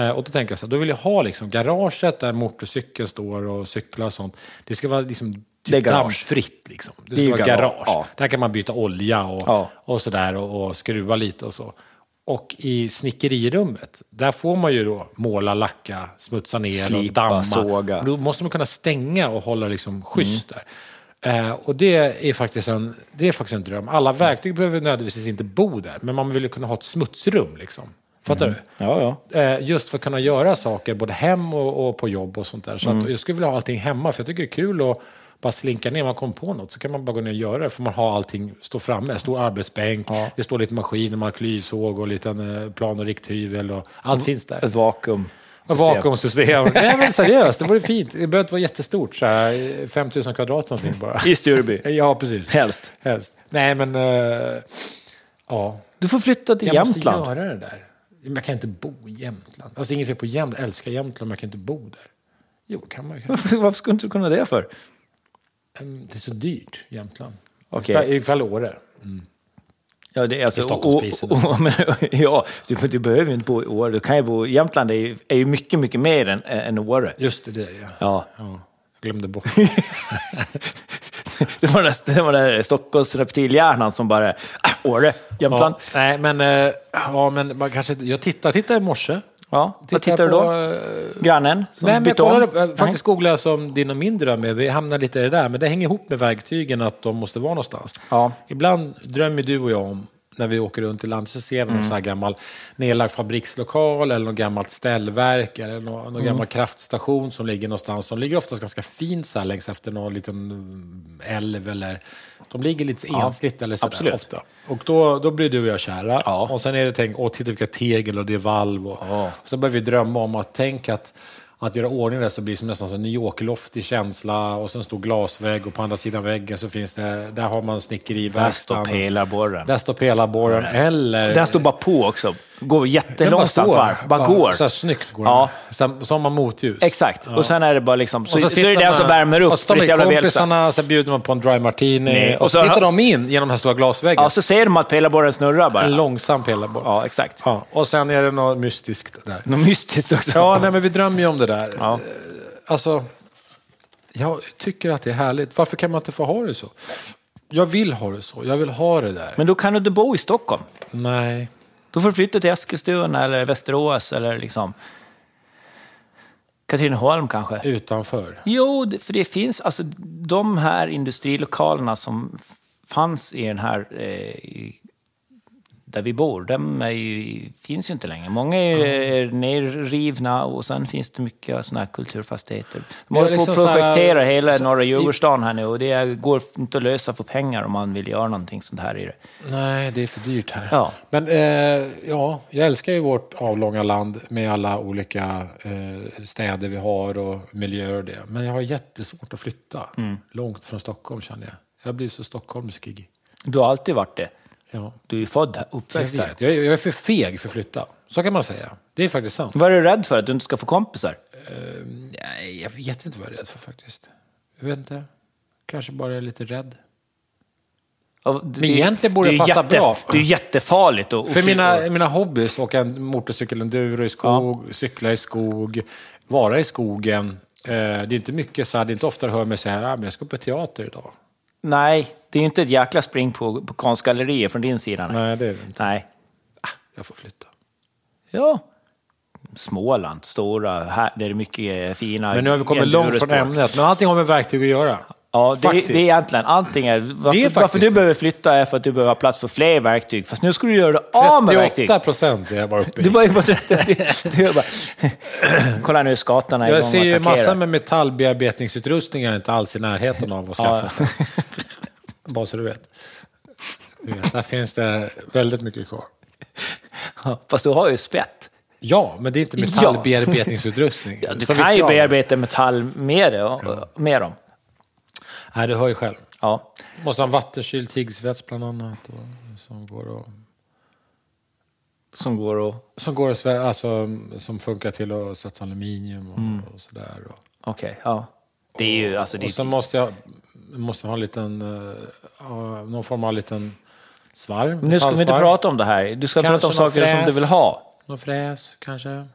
[SPEAKER 2] Eh, Och då tänker jag så här, då vill jag ha liksom garaget där motorcykeln står och cyklar och sånt. Det ska vara liksom
[SPEAKER 1] Det är
[SPEAKER 2] typ
[SPEAKER 1] garage.
[SPEAKER 2] dammfritt. Liksom. Det
[SPEAKER 1] är
[SPEAKER 2] ska
[SPEAKER 1] ju
[SPEAKER 2] vara
[SPEAKER 1] garage.
[SPEAKER 2] garage.
[SPEAKER 1] Ja.
[SPEAKER 2] Där kan man byta olja och,
[SPEAKER 1] Ja.
[SPEAKER 2] och sådär och, och skruva lite och så. Och i snickerirummet, där får man ju då måla, lacka, smutsa ner och
[SPEAKER 1] Slipa,
[SPEAKER 2] damma.
[SPEAKER 1] såga. Mm.
[SPEAKER 2] Då måste man kunna stänga och hålla liksom schysst där. Eh, och det är, faktiskt en, det är faktiskt en dröm. Alla verktyg behöver nödvändigtvis inte bo där, men man vill ju kunna ha ett smutsrum. Liksom. Fattar du?
[SPEAKER 1] Mm. Ja, ja.
[SPEAKER 2] Eh, just för att kunna göra saker både hem och, och på jobb och sånt där. Så att, jag skulle vilja ha allting hemma, för jag tycker det är kul att bara slinka ner. Man kommer på något så kan man bara gå ner och göra det. För man har allting, stå framme, stor arbetsbänk,
[SPEAKER 1] Ja.
[SPEAKER 2] det står lite maskiner, man har klyvsåg och en liten eh, plan och rikthyvel och allt finns där.
[SPEAKER 1] Ett vakuum.
[SPEAKER 2] Och vakuumsystem. Nej men seriöst, det vore fint. Det behöver inte vara jättestort, så här, 5000 kvadrat någonting bara.
[SPEAKER 1] I Stureby,
[SPEAKER 2] Ja, precis.
[SPEAKER 1] helst.
[SPEAKER 2] Helst. Nej men, eh, ja.
[SPEAKER 1] Du får flytta till
[SPEAKER 2] Jag
[SPEAKER 1] Jämtland.
[SPEAKER 2] måste göra det där. Men jag kan inte bo i Jämtland. Alltså inget fel på Jämtland. Jag älskar Jämtland, men jag kan inte bo där. Jo, kan man ju.
[SPEAKER 1] Varför, varför skulle inte du kunna det för?
[SPEAKER 2] Mm, Det är så dyrt, Jämtland.
[SPEAKER 1] Okej.
[SPEAKER 2] Okay. I fall Åre.
[SPEAKER 1] Ja, det är alltså,
[SPEAKER 2] I Stockholmspriserna.
[SPEAKER 1] och- och- men- ja, du, du behöver ju inte bo i Åre. Du kan ju bo, Jämtland är ju, är ju mycket, mycket mer än, än Åre.
[SPEAKER 2] Just det, det är det. Ja.
[SPEAKER 1] Ja.
[SPEAKER 2] ja. Jag glömde bort.
[SPEAKER 1] Det var den där, det var den där Stockholms reptilhjärnan som bara, ah, Åre, Jämtland.
[SPEAKER 2] Ja, nej, men, eh, ja, men man kanske, jag tittade, tittade i morse.
[SPEAKER 1] Ja. Vad tittar du
[SPEAKER 2] jag
[SPEAKER 1] då?
[SPEAKER 2] eh,
[SPEAKER 1] Grannen som
[SPEAKER 2] Nej, men jag
[SPEAKER 1] bytte om?
[SPEAKER 2] kollade, upp- jag faktiskt googlade som din och min dröm är. Vi hamnar lite i det där, men det hänger ihop med verktygen att de måste vara någonstans.
[SPEAKER 1] Ja.
[SPEAKER 2] Ibland drömmer du och jag om, när vi åker runt i landet, så ser vi
[SPEAKER 1] Mm.
[SPEAKER 2] någon så här gammal nedlagd fabrikslokal eller något gammalt ställverk eller någon,
[SPEAKER 1] Mm.
[SPEAKER 2] någon gammal kraftstation som ligger någonstans. De ligger oftast ganska fint så här längs efter någon liten mm, älv eller... De ligger lite ensligt eller så
[SPEAKER 1] absolut.
[SPEAKER 2] där ofta. Och då, då blir du och jag kära.
[SPEAKER 1] Ja.
[SPEAKER 2] Och sen är det tänk, åh titta vilka tegel och det är valv. Och,
[SPEAKER 1] Ja.
[SPEAKER 2] så börjar vi drömma om att tänk att Att göra ordning där så blir det som nästan som New York-loftig känsla och så en stor glasvägg och på andra sidan väggen så finns det, där har man
[SPEAKER 1] Där
[SPEAKER 2] snickeriverkstan.
[SPEAKER 1] står pelarborren.
[SPEAKER 2] Där står pelarborren. Eller...
[SPEAKER 1] Den står bara på också. Går
[SPEAKER 2] Den
[SPEAKER 1] jättelångsamt
[SPEAKER 2] står.
[SPEAKER 1] varv. Bara går.
[SPEAKER 2] Så här snyggt går
[SPEAKER 1] Ja.
[SPEAKER 2] den. Så här- Som har motljus.
[SPEAKER 1] Exakt. Och sen är det bara liksom... Så,
[SPEAKER 2] Och
[SPEAKER 1] så, är
[SPEAKER 2] sitter
[SPEAKER 1] det den
[SPEAKER 2] man-
[SPEAKER 1] som värmer upp.
[SPEAKER 2] Och så
[SPEAKER 1] för det är så
[SPEAKER 2] tar
[SPEAKER 1] jävla
[SPEAKER 2] man
[SPEAKER 1] välspänt.
[SPEAKER 2] kompisarna, sen bjuder man på en dry martini.
[SPEAKER 1] Nej,
[SPEAKER 2] Och,
[SPEAKER 1] och
[SPEAKER 2] så
[SPEAKER 1] så
[SPEAKER 2] tittar
[SPEAKER 1] har-
[SPEAKER 2] de in genom den här stora glasväggen.
[SPEAKER 1] Ja, så ser de att pelarborren snurrar bara.
[SPEAKER 2] en långsam pelarbord.
[SPEAKER 1] Ja, exakt.
[SPEAKER 2] Ja, och sen är det något mystiskt där.
[SPEAKER 1] Något mystiskt också.
[SPEAKER 2] Ja, nej, men vi drömmer ju om det där. Eh,
[SPEAKER 1] Ja.
[SPEAKER 2] Alltså, jag tycker att det är härligt. Varför kan man inte få ha det så? Jag vill ha det så. Jag vill ha det där.
[SPEAKER 1] Men då kan du inte bo i Stockholm.
[SPEAKER 2] Nej.
[SPEAKER 1] Då får du flytta till Eskilstuna eller Västerås eller liksom... Katrineholm kanske.
[SPEAKER 2] Utanför.
[SPEAKER 1] Jo, det- för det finns, alltså de här industrilokalerna som f- fanns i den här, eh, i- där vi bor, de är ju, finns ju inte längre. Många är är nerrivna och sen finns det mycket sådana här kulturfastigheter. De
[SPEAKER 2] Ja,
[SPEAKER 1] håller
[SPEAKER 2] liksom
[SPEAKER 1] på
[SPEAKER 2] så
[SPEAKER 1] att
[SPEAKER 2] här-
[SPEAKER 1] projektera hela norra
[SPEAKER 2] i-
[SPEAKER 1] Djurgårdsstaden här nu och det är- går inte att lösa för pengar om man vill göra någonting sånt här i det.
[SPEAKER 2] Nej, det är för dyrt här.
[SPEAKER 1] Ja.
[SPEAKER 2] Men eh, ja, jag älskar ju vårt avlånga land med alla olika eh, städer vi har och miljöer och det. Men jag har jättesvårt att flytta
[SPEAKER 1] Mm.
[SPEAKER 2] långt från Stockholm känner jag. Jag blir så stockholmskig.
[SPEAKER 1] Du har alltid varit det.
[SPEAKER 2] Ja,
[SPEAKER 1] Du är ju född här,
[SPEAKER 2] jag,
[SPEAKER 1] uppväxt här.
[SPEAKER 2] vet. jag, jag är för feg för att flytta. Så kan man säga. Det är faktiskt sant.
[SPEAKER 1] Vad är du rädd för? Att du inte ska få kompisar?
[SPEAKER 2] Mm, Nej, jag vet inte vad jag är rädd för faktiskt. Jag vet inte. Kanske bara är lite rädd.
[SPEAKER 1] Ja, det-
[SPEAKER 2] Men egentligen borde
[SPEAKER 1] det är
[SPEAKER 2] det passa bra.
[SPEAKER 1] Det är ju jättefarligt att... att
[SPEAKER 2] För
[SPEAKER 1] fly-
[SPEAKER 2] mina, mina hobbys, åka en motorcykel enduro i skog, cykla i skog, vara i skogen. Eh, det är inte mycket så här, det är inte ofta du hör mig säga ah, men jag ska på teater idag.
[SPEAKER 1] Nej, det är ju inte ett jäkla spring på, på konstgallerier från din sida. Nej.
[SPEAKER 2] Nej, det är det inte.
[SPEAKER 1] Nej.
[SPEAKER 2] Jag får flytta.
[SPEAKER 1] Ja. Småland, stora, här, där det är mycket eh, fina...
[SPEAKER 2] Men nu har vi kommit
[SPEAKER 1] endurospår.
[SPEAKER 2] långt från ämnet, men allting har med verktyg att göra.
[SPEAKER 1] Ja, det,
[SPEAKER 2] Faktiskt.
[SPEAKER 1] det är egentligen antingen... Varför,
[SPEAKER 2] Det är
[SPEAKER 1] varför
[SPEAKER 2] faktiskt
[SPEAKER 1] du
[SPEAKER 2] det.
[SPEAKER 1] behöver flytta är för att du behöver ha plats för fler verktyg. Fast nu ska du göra dig av med verktyg.
[SPEAKER 2] 38 procent är jag bara uppe
[SPEAKER 1] Du
[SPEAKER 2] i.
[SPEAKER 1] var ju på 30. Du är bara... Kolla nu, skatarna är igång
[SPEAKER 2] Jag ser ju
[SPEAKER 1] och attackerar.
[SPEAKER 2] massor med metallbearbetningsutrustning jag är inte alls i närheten av att skaffa. bara så du vet. Du vet, Där finns det väldigt mycket kvar.
[SPEAKER 1] Ja, Fast du har ju spett.
[SPEAKER 2] Ja, men det är inte metallbearbetningsutrustning.
[SPEAKER 1] Ja, du
[SPEAKER 2] Som
[SPEAKER 1] kan
[SPEAKER 2] vi
[SPEAKER 1] ju
[SPEAKER 2] pratar om.
[SPEAKER 1] bearbeta metall med, det, och- och- med dem.
[SPEAKER 2] Nej, du hör ju själv.
[SPEAKER 1] Ja.
[SPEAKER 2] Måste ha en vattenkyld tigsvets bland annat. Och, som går att,
[SPEAKER 1] Som går att...
[SPEAKER 2] som går att svä, alltså, som funkar till att sätta aluminium och, och sådär. Och,
[SPEAKER 1] Okej, ja. Det är ju... Alltså, Mm. det är
[SPEAKER 2] och sen måste jag, måste jag ha en liten, eh, ja, någon form av liten svarv.
[SPEAKER 1] Men nu ska vi inte
[SPEAKER 2] metallsvarv.
[SPEAKER 1] prata om det här. Du ska prata om
[SPEAKER 2] Kanske någon
[SPEAKER 1] saker som du
[SPEAKER 2] fräs.
[SPEAKER 1] vill ha.
[SPEAKER 2] Någon fräs kanske.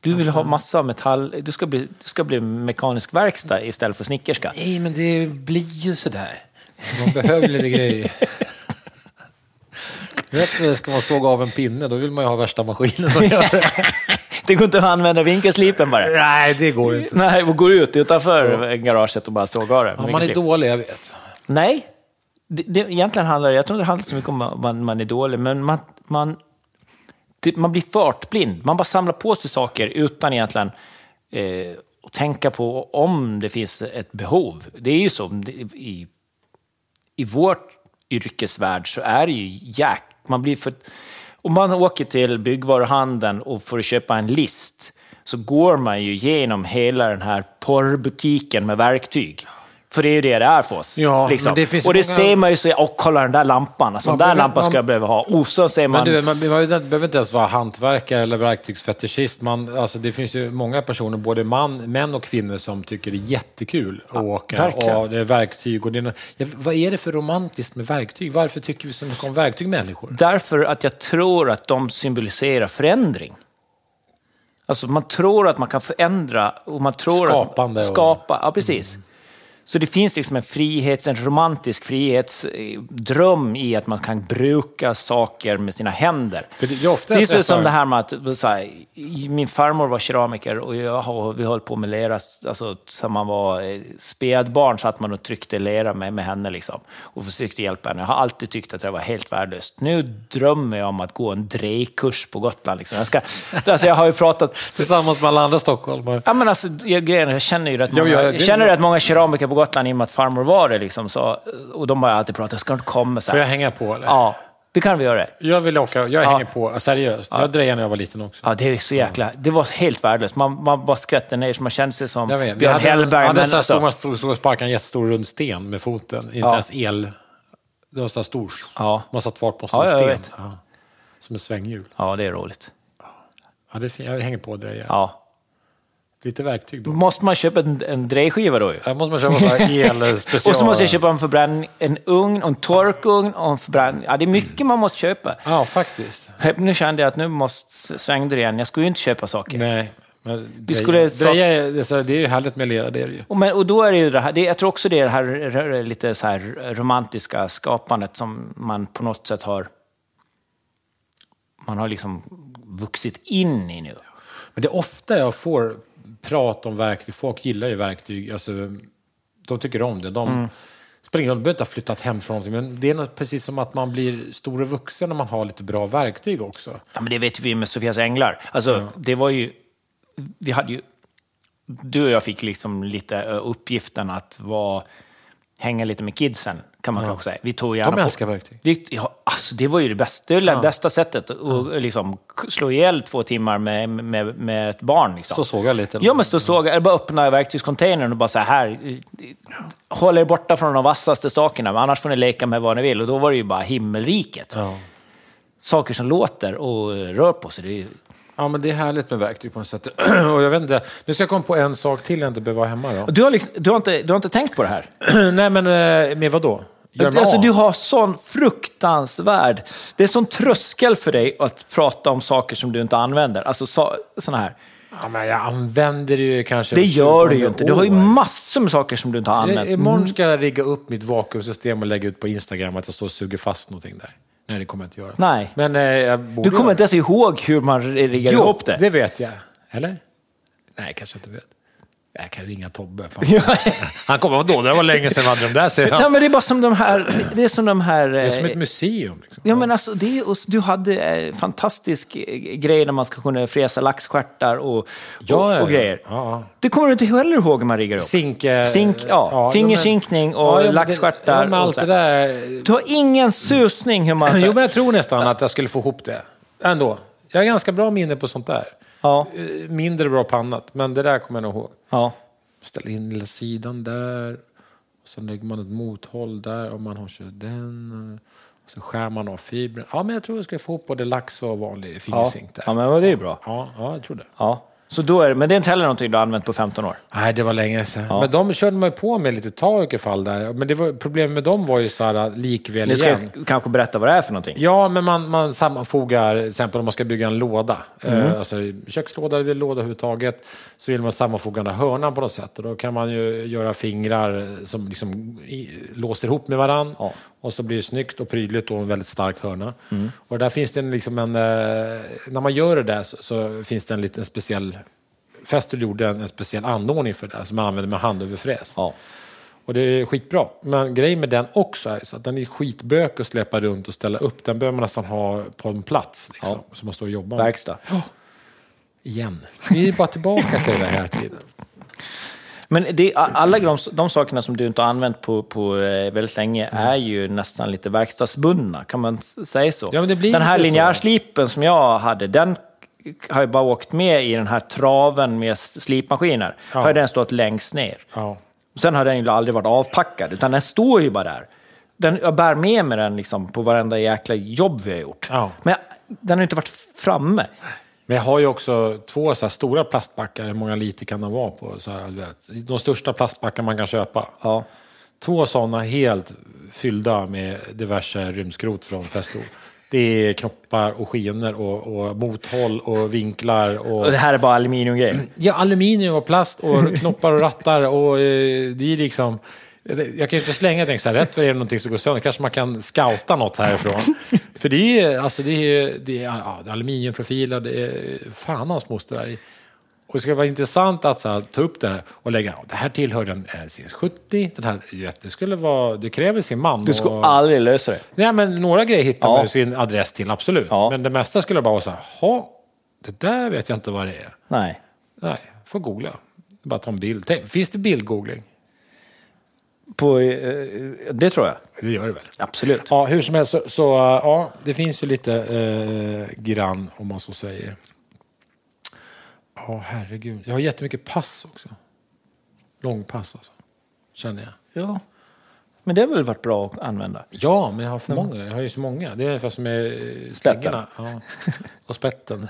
[SPEAKER 1] Du vill ha massa metall. Du ska bli, du ska bli mekanisk verkstad istället för snickerska.
[SPEAKER 2] Nej, men det blir ju sådär. Man behöver lite grejer. Du vet när det ska man såga av en pinne, då vill man ju ha värsta maskinen som gör det.
[SPEAKER 1] Det går inte att använda vinkelslipen bara.
[SPEAKER 2] Nej, det går inte.
[SPEAKER 1] Nej, och går ut utanför garaget och bara sågar det.
[SPEAKER 2] Ja, man är
[SPEAKER 1] Vinkelslip.
[SPEAKER 2] dålig, jag vet.
[SPEAKER 1] Nej, det, det, egentligen handlar det... Jag tror inte det handlar så mycket om att man, man är dålig, men man, man, det, man blir fartblind. Man bara samlar på sig saker utan egentligen eh, att tänka på om det finns ett behov. Det är ju så det- i, i vår yrkesvärld så är det ju jäk... Man blir för... Om man åker till byggvaruhandeln och får köpa en list så går man ju genom hela den här porrbutiken med verktyg. För det är ju det det är för oss. liksom.
[SPEAKER 2] Ja, men det finns
[SPEAKER 1] och det
[SPEAKER 2] många-
[SPEAKER 1] ser man ju så, åh kolla den där lampan, alltså,
[SPEAKER 2] Man
[SPEAKER 1] den där
[SPEAKER 2] behöver-
[SPEAKER 1] lampan ska
[SPEAKER 2] man-
[SPEAKER 1] jag behöva ha. Och så ser man...
[SPEAKER 2] Men du, man, man behöver inte ens vara hantverkare eller verktygsfetischist. Man, alltså, det finns ju många personer, både man, män och kvinnor, som tycker det är jättekul att åka.
[SPEAKER 1] verkligen.
[SPEAKER 2] Och det är verktyg och det är, ja, Vad är det för romantiskt med verktyg? Varför tycker vi så mycket om verktyg, människor?
[SPEAKER 1] Därför att jag tror att de symboliserar förändring. Alltså man tror att man kan förändra och man tror
[SPEAKER 2] Skapande och- Mm.
[SPEAKER 1] att... Skapa, ja precis. Så det finns liksom en frihets, en romantisk frihetsdröm i att man kan bruka saker med sina händer.
[SPEAKER 2] För det- det är ofta
[SPEAKER 1] det är
[SPEAKER 2] jag
[SPEAKER 1] så
[SPEAKER 2] träffar-
[SPEAKER 1] som det här med att så här, i- min farmor var keramiker och jag, har- vi höll på med lera. Alltså, sen man var eh, spädbarn satt man och tryckte lera med, med henne liksom, och försökte hjälpa henne. Jag har alltid tyckt att det var helt värdelöst. Nu drömmer jag om att gå en drejkurs på Gotland. Liksom. Jag, ska, alltså, jag har ju pratat
[SPEAKER 2] Tillsammans med alla andra stockholmare.
[SPEAKER 1] Ja, men alltså, jag, grejen, är, jag känner ju rätt
[SPEAKER 2] Ja,
[SPEAKER 1] många,
[SPEAKER 2] ja, det-
[SPEAKER 1] jag känner rätt många keramiker på Gotland i och med att farmor var det. Liksom, så, och de har jag alltid pratat, ska du inte komma? Så
[SPEAKER 2] Får
[SPEAKER 1] här.
[SPEAKER 2] jag hänga på, eller?
[SPEAKER 1] Ja, Det kan vi göra.
[SPEAKER 2] Jag vill åka, jag hänger på, seriöst. Jag drejade när jag var liten också.
[SPEAKER 1] Ja, det är så jäkla... Det var helt värdelöst. Man, man bara skvätter ner så man kände sig som
[SPEAKER 2] Jag vet, vi
[SPEAKER 1] Björn
[SPEAKER 2] hade, en-
[SPEAKER 1] Hellberg.
[SPEAKER 2] hade
[SPEAKER 1] men alltså-
[SPEAKER 2] en sån här
[SPEAKER 1] också-
[SPEAKER 2] stor, stor, stor sparka, en jättestor rund sten med foten. Inte
[SPEAKER 1] Ja.
[SPEAKER 2] ens el. Det var så här stor.
[SPEAKER 1] Ja.
[SPEAKER 2] Man satt fart på en stor
[SPEAKER 1] Ja, jag
[SPEAKER 2] sten.
[SPEAKER 1] vet.
[SPEAKER 2] Ja. Som ett svänghjul.
[SPEAKER 1] Ja, det är roligt.
[SPEAKER 2] Ja, det är fint. Jag hänger på det. Ja.
[SPEAKER 1] Ja.
[SPEAKER 2] Lite verktyg då.
[SPEAKER 1] Måste man köpa en, en drejskiva då ju?
[SPEAKER 2] Här måste man köpa sån här el special.
[SPEAKER 1] Och så måste jag köpa en förbränning, en ugn, och en torkugn och en förbränning. Ja, det är mycket man måste köpa.
[SPEAKER 2] Ja, faktiskt.
[SPEAKER 1] Nu kände jag att nu måste svängde det igen. Jag skulle ju inte köpa saker.
[SPEAKER 2] Nej. Men vi
[SPEAKER 1] skulle-
[SPEAKER 2] dreja, är- det, är så här- det är ju härligt med lera, det är det ju.
[SPEAKER 1] Och, men, och då är det ju det här, det, jag tror också det är det här r- r- lite så här romantiska skapandet som man på något sätt har... Man har liksom vuxit in i nu.
[SPEAKER 2] Men det är ofta jag får prat om verktyg. Folk gillar ju verktyg. Alltså, de tycker om det. De, mm. spelar ingen roll, de behöver inte ha flyttat hem från någonting. Men det är något, precis som att man blir stor och vuxen när man har lite bra verktyg också.
[SPEAKER 1] Ja, men det vet vi med Sofias änglar. Alltså, det var ju... Vi hade ju... Du och jag fick liksom lite ö, uppgiften att vara, hänga lite med kidsen, kan man kanske säga. Vi tog gärna
[SPEAKER 2] De älskar verktyg.
[SPEAKER 1] Vi, ja, alltså, det var ju det bästa, det, ja. bästa sättet att att liksom, k- slå ihjäl två timmar med, med, med ett barn. Liksom.
[SPEAKER 2] Så såg jag lite.
[SPEAKER 1] Ja, men stå och såga, eller bara öppna verktygscontainern och bara så här, eh, eh, håll er borta från de vassaste sakerna, men annars får ni leka med vad ni vill. Och då var det ju bara himmelriket.
[SPEAKER 2] Ja.
[SPEAKER 1] Saker som låter och eh, rör på sig. Det är ju,
[SPEAKER 2] ja, men det är härligt med verktyg på något sätt. och jag vet inte, nu ska jag komma på en sak till jag inte behöver vara hemma då.
[SPEAKER 1] Och Du har, liksom, du, har inte, du har inte tänkt på det här?
[SPEAKER 2] Nej, men eh, med vad då? Gör mig
[SPEAKER 1] Alltså,
[SPEAKER 2] av.
[SPEAKER 1] du har sån fruktansvärd... Det är sån tröskel för dig att prata om saker som du inte använder. Alltså så, såna här.
[SPEAKER 2] ja, men jag använder det ju kanske...
[SPEAKER 1] Det gör du ju inte. Du har ju
[SPEAKER 2] år.
[SPEAKER 1] massor med saker som du inte har
[SPEAKER 2] I-
[SPEAKER 1] använt.
[SPEAKER 2] Imorgon ska jag rigga upp mitt vakuumsystem och lägga ut på Instagram att jag står och suger fast någonting där. Nej, det kommer jag inte göra.
[SPEAKER 1] Nej.
[SPEAKER 2] Men eh, jag
[SPEAKER 1] Du
[SPEAKER 2] borde
[SPEAKER 1] kommer
[SPEAKER 2] göra
[SPEAKER 1] inte ens ihåg hur man riggar
[SPEAKER 2] Jo,
[SPEAKER 1] ihop det.
[SPEAKER 2] det vet jag. Eller? Nej, kanske inte vet. Jag kan ringa Tobbe. Fan. Han kommer, vadå, det var länge sedan vi hade de där, säger han.
[SPEAKER 1] Nej, men det är bara som de här... Det är som de här... eh,
[SPEAKER 2] Det är som ett museum. Liksom.
[SPEAKER 1] Ja, men alltså, det, är- och du hade eh, fantastisk eh, grej när man ska kunna fräsa laxstjärtar och, och,
[SPEAKER 2] Ja, ja,
[SPEAKER 1] och grejer.
[SPEAKER 2] ja, ja.
[SPEAKER 1] Det kommer du inte heller ihåg hur man riggar upp.
[SPEAKER 2] Zink... eh,
[SPEAKER 1] Zink, ja.
[SPEAKER 2] men-
[SPEAKER 1] Fingersinkning och
[SPEAKER 2] men det-
[SPEAKER 1] laxstjärtar
[SPEAKER 2] Ja, men
[SPEAKER 1] och
[SPEAKER 2] allt
[SPEAKER 1] så Alltså-
[SPEAKER 2] det
[SPEAKER 1] här.
[SPEAKER 2] där.
[SPEAKER 1] Du har ingen susning hur man...
[SPEAKER 2] Jo, men jag tror nästan att jag skulle få ihop det. Ändå. Jag har ganska bra minne på sånt där.
[SPEAKER 1] ja,
[SPEAKER 2] Eh, Mindre bra på annat, men det där kommer jag nog ihåg.
[SPEAKER 1] ja.
[SPEAKER 2] ställer in lilla sidan där. Och sen lägger man ett mothåll där och man har kör den. eh, Och så skär man av fibren. Ja, men jag tror jag skulle få ihop både lax och vanlig
[SPEAKER 1] Ja.
[SPEAKER 2] fingersink där.
[SPEAKER 1] ja, men det är ju bra.
[SPEAKER 2] Ja, ja, jag tror det.
[SPEAKER 1] Ja. Så då är det, men det är inte heller någonting du har använt på 15 år?
[SPEAKER 2] Nej, det var länge sedan. Men de körde man ju på med lite tag i fall där. Men det var, problemet med dem var ju så här eh, likväl
[SPEAKER 1] Nu ska
[SPEAKER 2] igen.
[SPEAKER 1] jag kanske berätta vad det är för någonting.
[SPEAKER 2] Ja, men man, man sammanfogar, till exempel om man ska bygga en låda,
[SPEAKER 1] Mm.
[SPEAKER 2] eh, alltså kökslåda eller låda överhuvudtaget, så vill man sammanfoga den här hörnan på något sätt. Och då kan man ju göra fingrar som liksom i, låser ihop med varann.
[SPEAKER 1] Ja. Mm.
[SPEAKER 2] Och så blir det snyggt och prydligt och en väldigt stark hörna. Och där finns det en, liksom en, eh, när man gör det där så, så finns det en liten speciell, Festool gjorde en, en speciell anordning för det där som man använder med handöverfräs.
[SPEAKER 1] Ja.
[SPEAKER 2] Och det är skitbra. Men grejen med den också är så att den är skitbök att släppa runt och ställa upp. Den behöver man nästan ha på en plats liksom, som man står och jobbar med.
[SPEAKER 1] Verkstad.
[SPEAKER 2] Igen. Vi är bara tillbaka till det här tiden.
[SPEAKER 1] Men det, alla de, de sakerna som du inte har använt på, på eh, väldigt länge
[SPEAKER 2] Mm.
[SPEAKER 1] är ju nästan lite verkstadsbundna, kan man s- säga så?
[SPEAKER 2] Ja, men det blir
[SPEAKER 1] den här
[SPEAKER 2] lite så.
[SPEAKER 1] linjärslipen som jag hade, den har ju bara åkt med i den här traven med s- slipmaskiner.
[SPEAKER 2] Ja.
[SPEAKER 1] Har ju den stått längst ner.
[SPEAKER 2] Ja.
[SPEAKER 1] Sen har den ju aldrig varit avpackad, utan den står ju bara där. Den, jag bär med mig den liksom på varenda jäkla jobb vi har gjort.
[SPEAKER 2] Ja.
[SPEAKER 1] Men jag, den har ju inte varit framme.
[SPEAKER 2] Men jag har ju också två så här stora plastbackar. Hur många liter kan de vara på? Så här, du vet, de största plastbackar man kan köpa.
[SPEAKER 1] Ja.
[SPEAKER 2] Två sådana helt fyllda med diverse rymdskrot från Festo. Det är knoppar och skenor och, och mothåll och vinklar. Och...
[SPEAKER 1] Och det här är bara aluminiumgrejer.
[SPEAKER 2] Ja, aluminium och plast och knoppar och rattar och eh, det är liksom... Jag kan ju inte slänga jag tänker så här, rätt för det är det någonting som går sönder. Kanske man kan scouta något härifrån. För det är ju, alltså det är, det är ja, det är aluminiumprofiler, det är fan hans moster där i. Och det ska vara intressant att så här, ta upp det här och lägga, ja, det här tillhör den eh, CS70, den här, du vet, det skulle vara, det kräver sin man.
[SPEAKER 1] Du skulle
[SPEAKER 2] och-
[SPEAKER 1] aldrig lösa det.
[SPEAKER 2] Nej, men några grejer hittar
[SPEAKER 1] Ja.
[SPEAKER 2] man ju sin adress till, absolut.
[SPEAKER 1] Ja.
[SPEAKER 2] Men det mesta skulle jag bara vara så här, "Jaha, det där vet jag inte vad det är.
[SPEAKER 1] Nej.
[SPEAKER 2] Nej, får googla. Bara ta en bild. Tänk, finns det bildgoogling?
[SPEAKER 1] På, eh, det tror jag.
[SPEAKER 2] Det gör det väl?
[SPEAKER 1] Absolut.
[SPEAKER 2] Ja, hur som helst, så, så äh, ja, det finns ju lite eh, grann om man så säger. Ja, herregud. Jag har jättemycket pass också. Långpass alltså, känner jag.
[SPEAKER 1] Ja. Men det har väl varit bra att använda?
[SPEAKER 2] Ja, men jag har för många. Jag har ju så många. Det är ungefär som med eh, slingorna. Ja. Och spetten.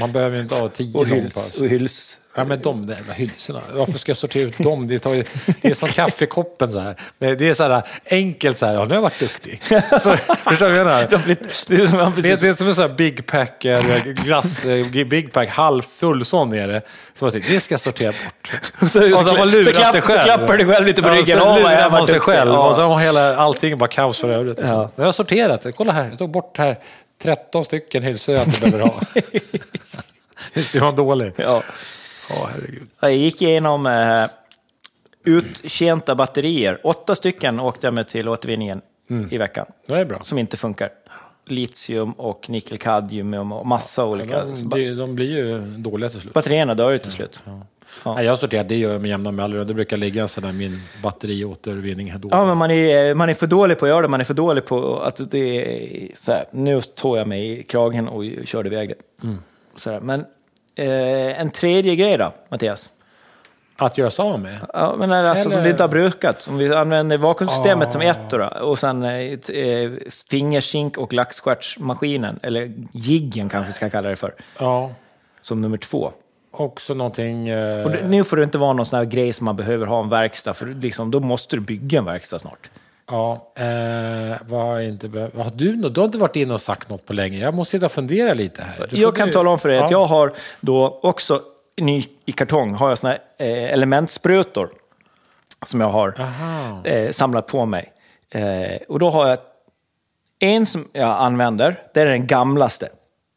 [SPEAKER 2] Man behöver ju inte ha tio
[SPEAKER 1] Och
[SPEAKER 2] långpass.
[SPEAKER 1] hyls. Och hyls.
[SPEAKER 2] Ja, men de där jävla hylsorna. Varför ska jag sortera ut dem? Det, tar ju, det är som kaffekoppen så här. Men det är så här enkelt så här. Ja, nu har jag varit duktig. Så, förstår du vad jag menar?
[SPEAKER 1] De blir, det är som man
[SPEAKER 2] Det,
[SPEAKER 1] precis...
[SPEAKER 2] det är som en sån här Big Pack, eh, glass, eh, Big Pack, halvfull sån är det. Som jag tänkte, det ska jag sortera bort. Och så,
[SPEAKER 1] så
[SPEAKER 2] har man lurat
[SPEAKER 1] så klapp-
[SPEAKER 2] sig
[SPEAKER 1] så
[SPEAKER 2] själv.
[SPEAKER 1] klappar du själv lite på
[SPEAKER 2] Ja,
[SPEAKER 1] ryggen.
[SPEAKER 2] Sen
[SPEAKER 1] Åh, vad jag
[SPEAKER 2] lurar
[SPEAKER 1] har
[SPEAKER 2] man
[SPEAKER 1] varit
[SPEAKER 2] sig
[SPEAKER 1] duktig.
[SPEAKER 2] själv.
[SPEAKER 1] Ja.
[SPEAKER 2] Och sen var hela, allting bara kaos för övrigt. Liksom.
[SPEAKER 1] Ja.
[SPEAKER 2] Nu har jag sorterat det. Kolla här, jag tog bort här 13 stycken hylsor jag inte behöver ha. Visst är man dålig?
[SPEAKER 1] Ja.
[SPEAKER 2] Ja, herregud.
[SPEAKER 1] Jag gick igenom eh, uttjänta batterier. Åtta stycken åkte jag med till återvinningen
[SPEAKER 2] Mm.
[SPEAKER 1] i veckan,
[SPEAKER 2] Det är bra.
[SPEAKER 1] som inte funkar. Litium och nickelkadmium och massa olika. Så
[SPEAKER 2] De,
[SPEAKER 1] ba-
[SPEAKER 2] de, de blir ju dåliga till slut.
[SPEAKER 1] batterierna dör ju
[SPEAKER 2] Mm.
[SPEAKER 1] till slut. Ja.
[SPEAKER 2] Nej, jag har sorterat, det gör jag med jämna mellanrum. Det brukar ligga en sån där min batteriåtervinning här då.
[SPEAKER 1] Ja, men man är, man är för dålig på att göra det. Man är för dålig på att det är så här, nu tog jag mig i kragen och körde iväg det. Så här, men eh, en tredje grej då, Mattias?
[SPEAKER 2] Att göra sig av med?
[SPEAKER 1] Ja, men alltså som
[SPEAKER 2] Eller-
[SPEAKER 1] du inte har brukat. Om vi använder vakuumsystemet
[SPEAKER 2] Ah.
[SPEAKER 1] som ett då, då, och sen eh, t- eh, fingersink och laxskärtsmaskinen, eller jiggen kanske vi ska kalla det för,
[SPEAKER 2] Ja,
[SPEAKER 1] som nummer två.
[SPEAKER 2] också någonting... Eh,
[SPEAKER 1] Och det, nu får det inte vara någon sån här grej som man behöver ha en verkstad, för liksom, då måste du bygga en verkstad snart.
[SPEAKER 2] Ja, eh, vad har jag inte behövt... Har du, nå- du har inte varit inne och sagt något på länge. Jag måste sitta och fundera lite här. Du
[SPEAKER 1] jag
[SPEAKER 2] får-
[SPEAKER 1] kan
[SPEAKER 2] du-
[SPEAKER 1] tala om för dig att
[SPEAKER 2] Ja.
[SPEAKER 1] jag har då också ny i kartong har jag såna här eh, elementsprutor som jag har
[SPEAKER 2] Aha.
[SPEAKER 1] eh, samlat på mig. Eh, och då har jag en som jag använder, det är den gamlaste.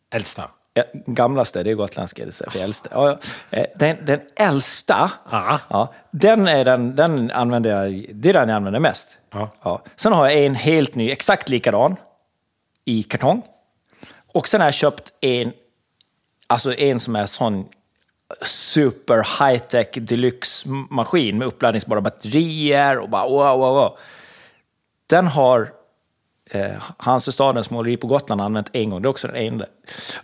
[SPEAKER 2] Äldsta.
[SPEAKER 1] Ja, Gamlaste, det är gotländska, det är för äldsta. Ja, ja. Eh, Den, den äldsta,
[SPEAKER 2] Ja.
[SPEAKER 1] ja, den, är den, den använder jag, det är den jag använder mest.
[SPEAKER 2] Ja.
[SPEAKER 1] Sen har jag en helt ny, exakt likadan, i kartong. Och sen har jag köpt en, alltså en som är sån super high-tech deluxe-maskin med uppladdningsbara batterier och bara wow, wow, wow. Den har eh, Hansestadens måleri på Gotland använt en gång. Det är också den enda.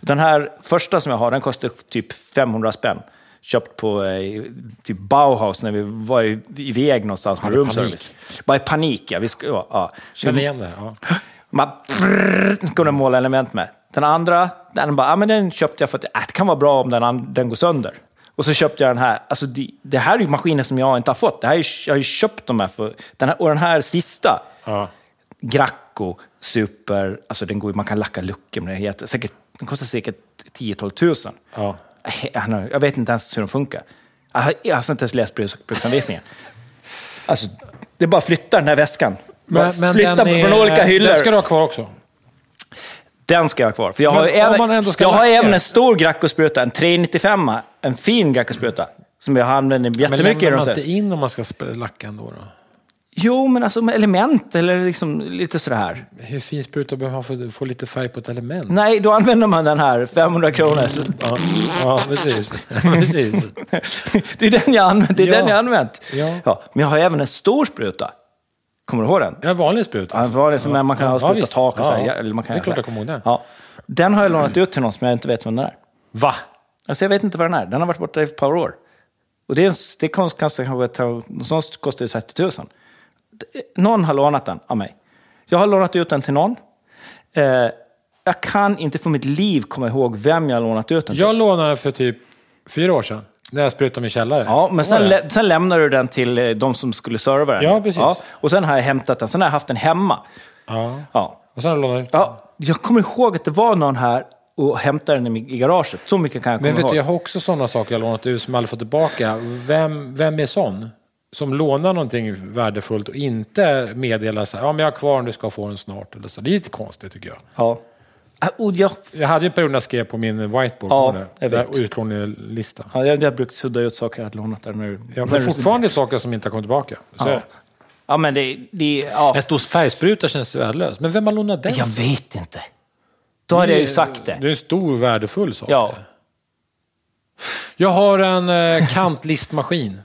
[SPEAKER 1] Den här första som jag har, den kostar typ 500 spänn. Köpt på eh, typ Bauhaus när vi var i- iväg någonstans med
[SPEAKER 2] Hade
[SPEAKER 1] roomservice. Bara i panik, ja. Vi ska, ja, ja.
[SPEAKER 2] Känner igen det? Ja.
[SPEAKER 1] Man prrr, kunde måla element med. Den andra, den bara, ah, men den köpte jag för att äh, det kan vara bra om den, an- den går sönder. Och så köpte jag den här. Alltså, det, det här är ju maskiner som jag inte har fått. Det här är, jag har ju köpt de här för... Den här, och den här sista,
[SPEAKER 2] Ja.
[SPEAKER 1] Gracco, super, alltså den går, ju- man kan lacka luckor med den. är jätte- Säkert, den kostar säkert 10-12 tusen.
[SPEAKER 2] Ja.
[SPEAKER 1] Jag vet inte ens hur den funkar. Jag har, jag har inte ens läst brus- bruksanvisningen. Alltså, det är bara att flytta den här väskan. Bara flytta
[SPEAKER 2] den
[SPEAKER 1] från
[SPEAKER 2] är-
[SPEAKER 1] olika hyllor.
[SPEAKER 2] Den ska du ha kvar också.
[SPEAKER 1] Den ska jag ha kvar. För jag har,
[SPEAKER 2] Men
[SPEAKER 1] ju
[SPEAKER 2] om
[SPEAKER 1] även,
[SPEAKER 2] man ändå ska
[SPEAKER 1] jag har
[SPEAKER 2] lacka.
[SPEAKER 1] även en stor Graccospruta, en 395, en fin Graccospruta. Som jag använder
[SPEAKER 2] Men
[SPEAKER 1] jättemycket i
[SPEAKER 2] lämnar man
[SPEAKER 1] de
[SPEAKER 2] inte in om man ska sp- lacka ändå? Då?
[SPEAKER 1] Jo, men alltså med element eller liksom lite sådär här.
[SPEAKER 2] Hur fin spruta behöver man för att få lite färg på ett element?
[SPEAKER 1] Nej, då använder man den här 500 kronor.
[SPEAKER 2] Ja, ja precis. precis.
[SPEAKER 1] det är den jag använt. Det är
[SPEAKER 2] Ja.
[SPEAKER 1] den jag använt.
[SPEAKER 2] Ja.
[SPEAKER 1] men jag har även en stor spruta. Kommer du ihåg den?
[SPEAKER 2] En vanlig spruta?
[SPEAKER 1] Ja,
[SPEAKER 2] Alltså.
[SPEAKER 1] det var det som man kan
[SPEAKER 2] Ja,
[SPEAKER 1] ha
[SPEAKER 2] ja,
[SPEAKER 1] spruta
[SPEAKER 2] visst.
[SPEAKER 1] tak och
[SPEAKER 2] Ja,
[SPEAKER 1] så här.
[SPEAKER 2] ja.
[SPEAKER 1] Eller man kan
[SPEAKER 2] Det är klart jag kommer ihåg den.
[SPEAKER 1] Ja. Den har jag lånat ut till någon som jag inte vet vem den är.
[SPEAKER 2] Va?
[SPEAKER 1] Alltså jag vet inte vad den är. Den har varit borta i ett par år. Och det, är en, det kanske, kanske kanske ta- någonstans kostar det 30 000. Det- Någon har lånat den av mig. Jag har lånat ut den till någon. Eh, jag kan inte för mitt liv komma ihåg vem jag har lånat ut den till.
[SPEAKER 2] Jag lånade den för typ fyra år sedan. När jag sprutade min källare.
[SPEAKER 1] Ja, men sen,
[SPEAKER 2] Var det?
[SPEAKER 1] lä- sen lämnar du den till eh, de som skulle serva den.
[SPEAKER 2] Ja, precis.
[SPEAKER 1] och sen har jag hämtat den. Sen har jag haft den hemma.
[SPEAKER 2] Ja.
[SPEAKER 1] Ja.
[SPEAKER 2] Och sen lånade jag ut.
[SPEAKER 1] Ja, jag kommer ihåg att det var någon här och hämtade den i mi- i garaget. Så mycket kan jag komma
[SPEAKER 2] Men vet
[SPEAKER 1] ihåg.
[SPEAKER 2] du, jag har också sådana saker jag lånat ut som jag aldrig fått tillbaka. Vem, vem är sån? Som lånar någonting värdefullt och inte meddelar så här, ja men jag har kvar den, du ska få den snart. Eller så. Det är lite konstigt tycker jag.
[SPEAKER 1] Ja. Ah, Och jag
[SPEAKER 2] Jag hade ju en period när jag skrev på min whiteboard,
[SPEAKER 1] Ja,
[SPEAKER 2] på den
[SPEAKER 1] jag
[SPEAKER 2] där
[SPEAKER 1] vet.
[SPEAKER 2] utlåningslista.
[SPEAKER 1] Ja, jag, jag har brukt sudda ut saker jag hade lånat där nu.
[SPEAKER 2] Ja, men fortfarande saker som inte har kommit tillbaka. Så är
[SPEAKER 1] Ja.
[SPEAKER 2] det.
[SPEAKER 1] ja, men det... det ja.
[SPEAKER 2] En stor färgspruta känns värdelös. Men vem har lånat den?
[SPEAKER 1] Jag vet inte. Då hade jag ju sagt det.
[SPEAKER 2] Det är en stor värdefull sak.
[SPEAKER 1] Ja.
[SPEAKER 2] Jag har en eh, kantlistmaskin.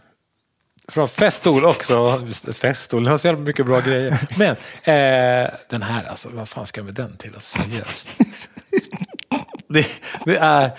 [SPEAKER 2] Från Festool också. Festool har så jävla mycket bra grejer. Men eh, den här, alltså, vad fan ska jag med den till? Alltså, seriöst. Det, det är...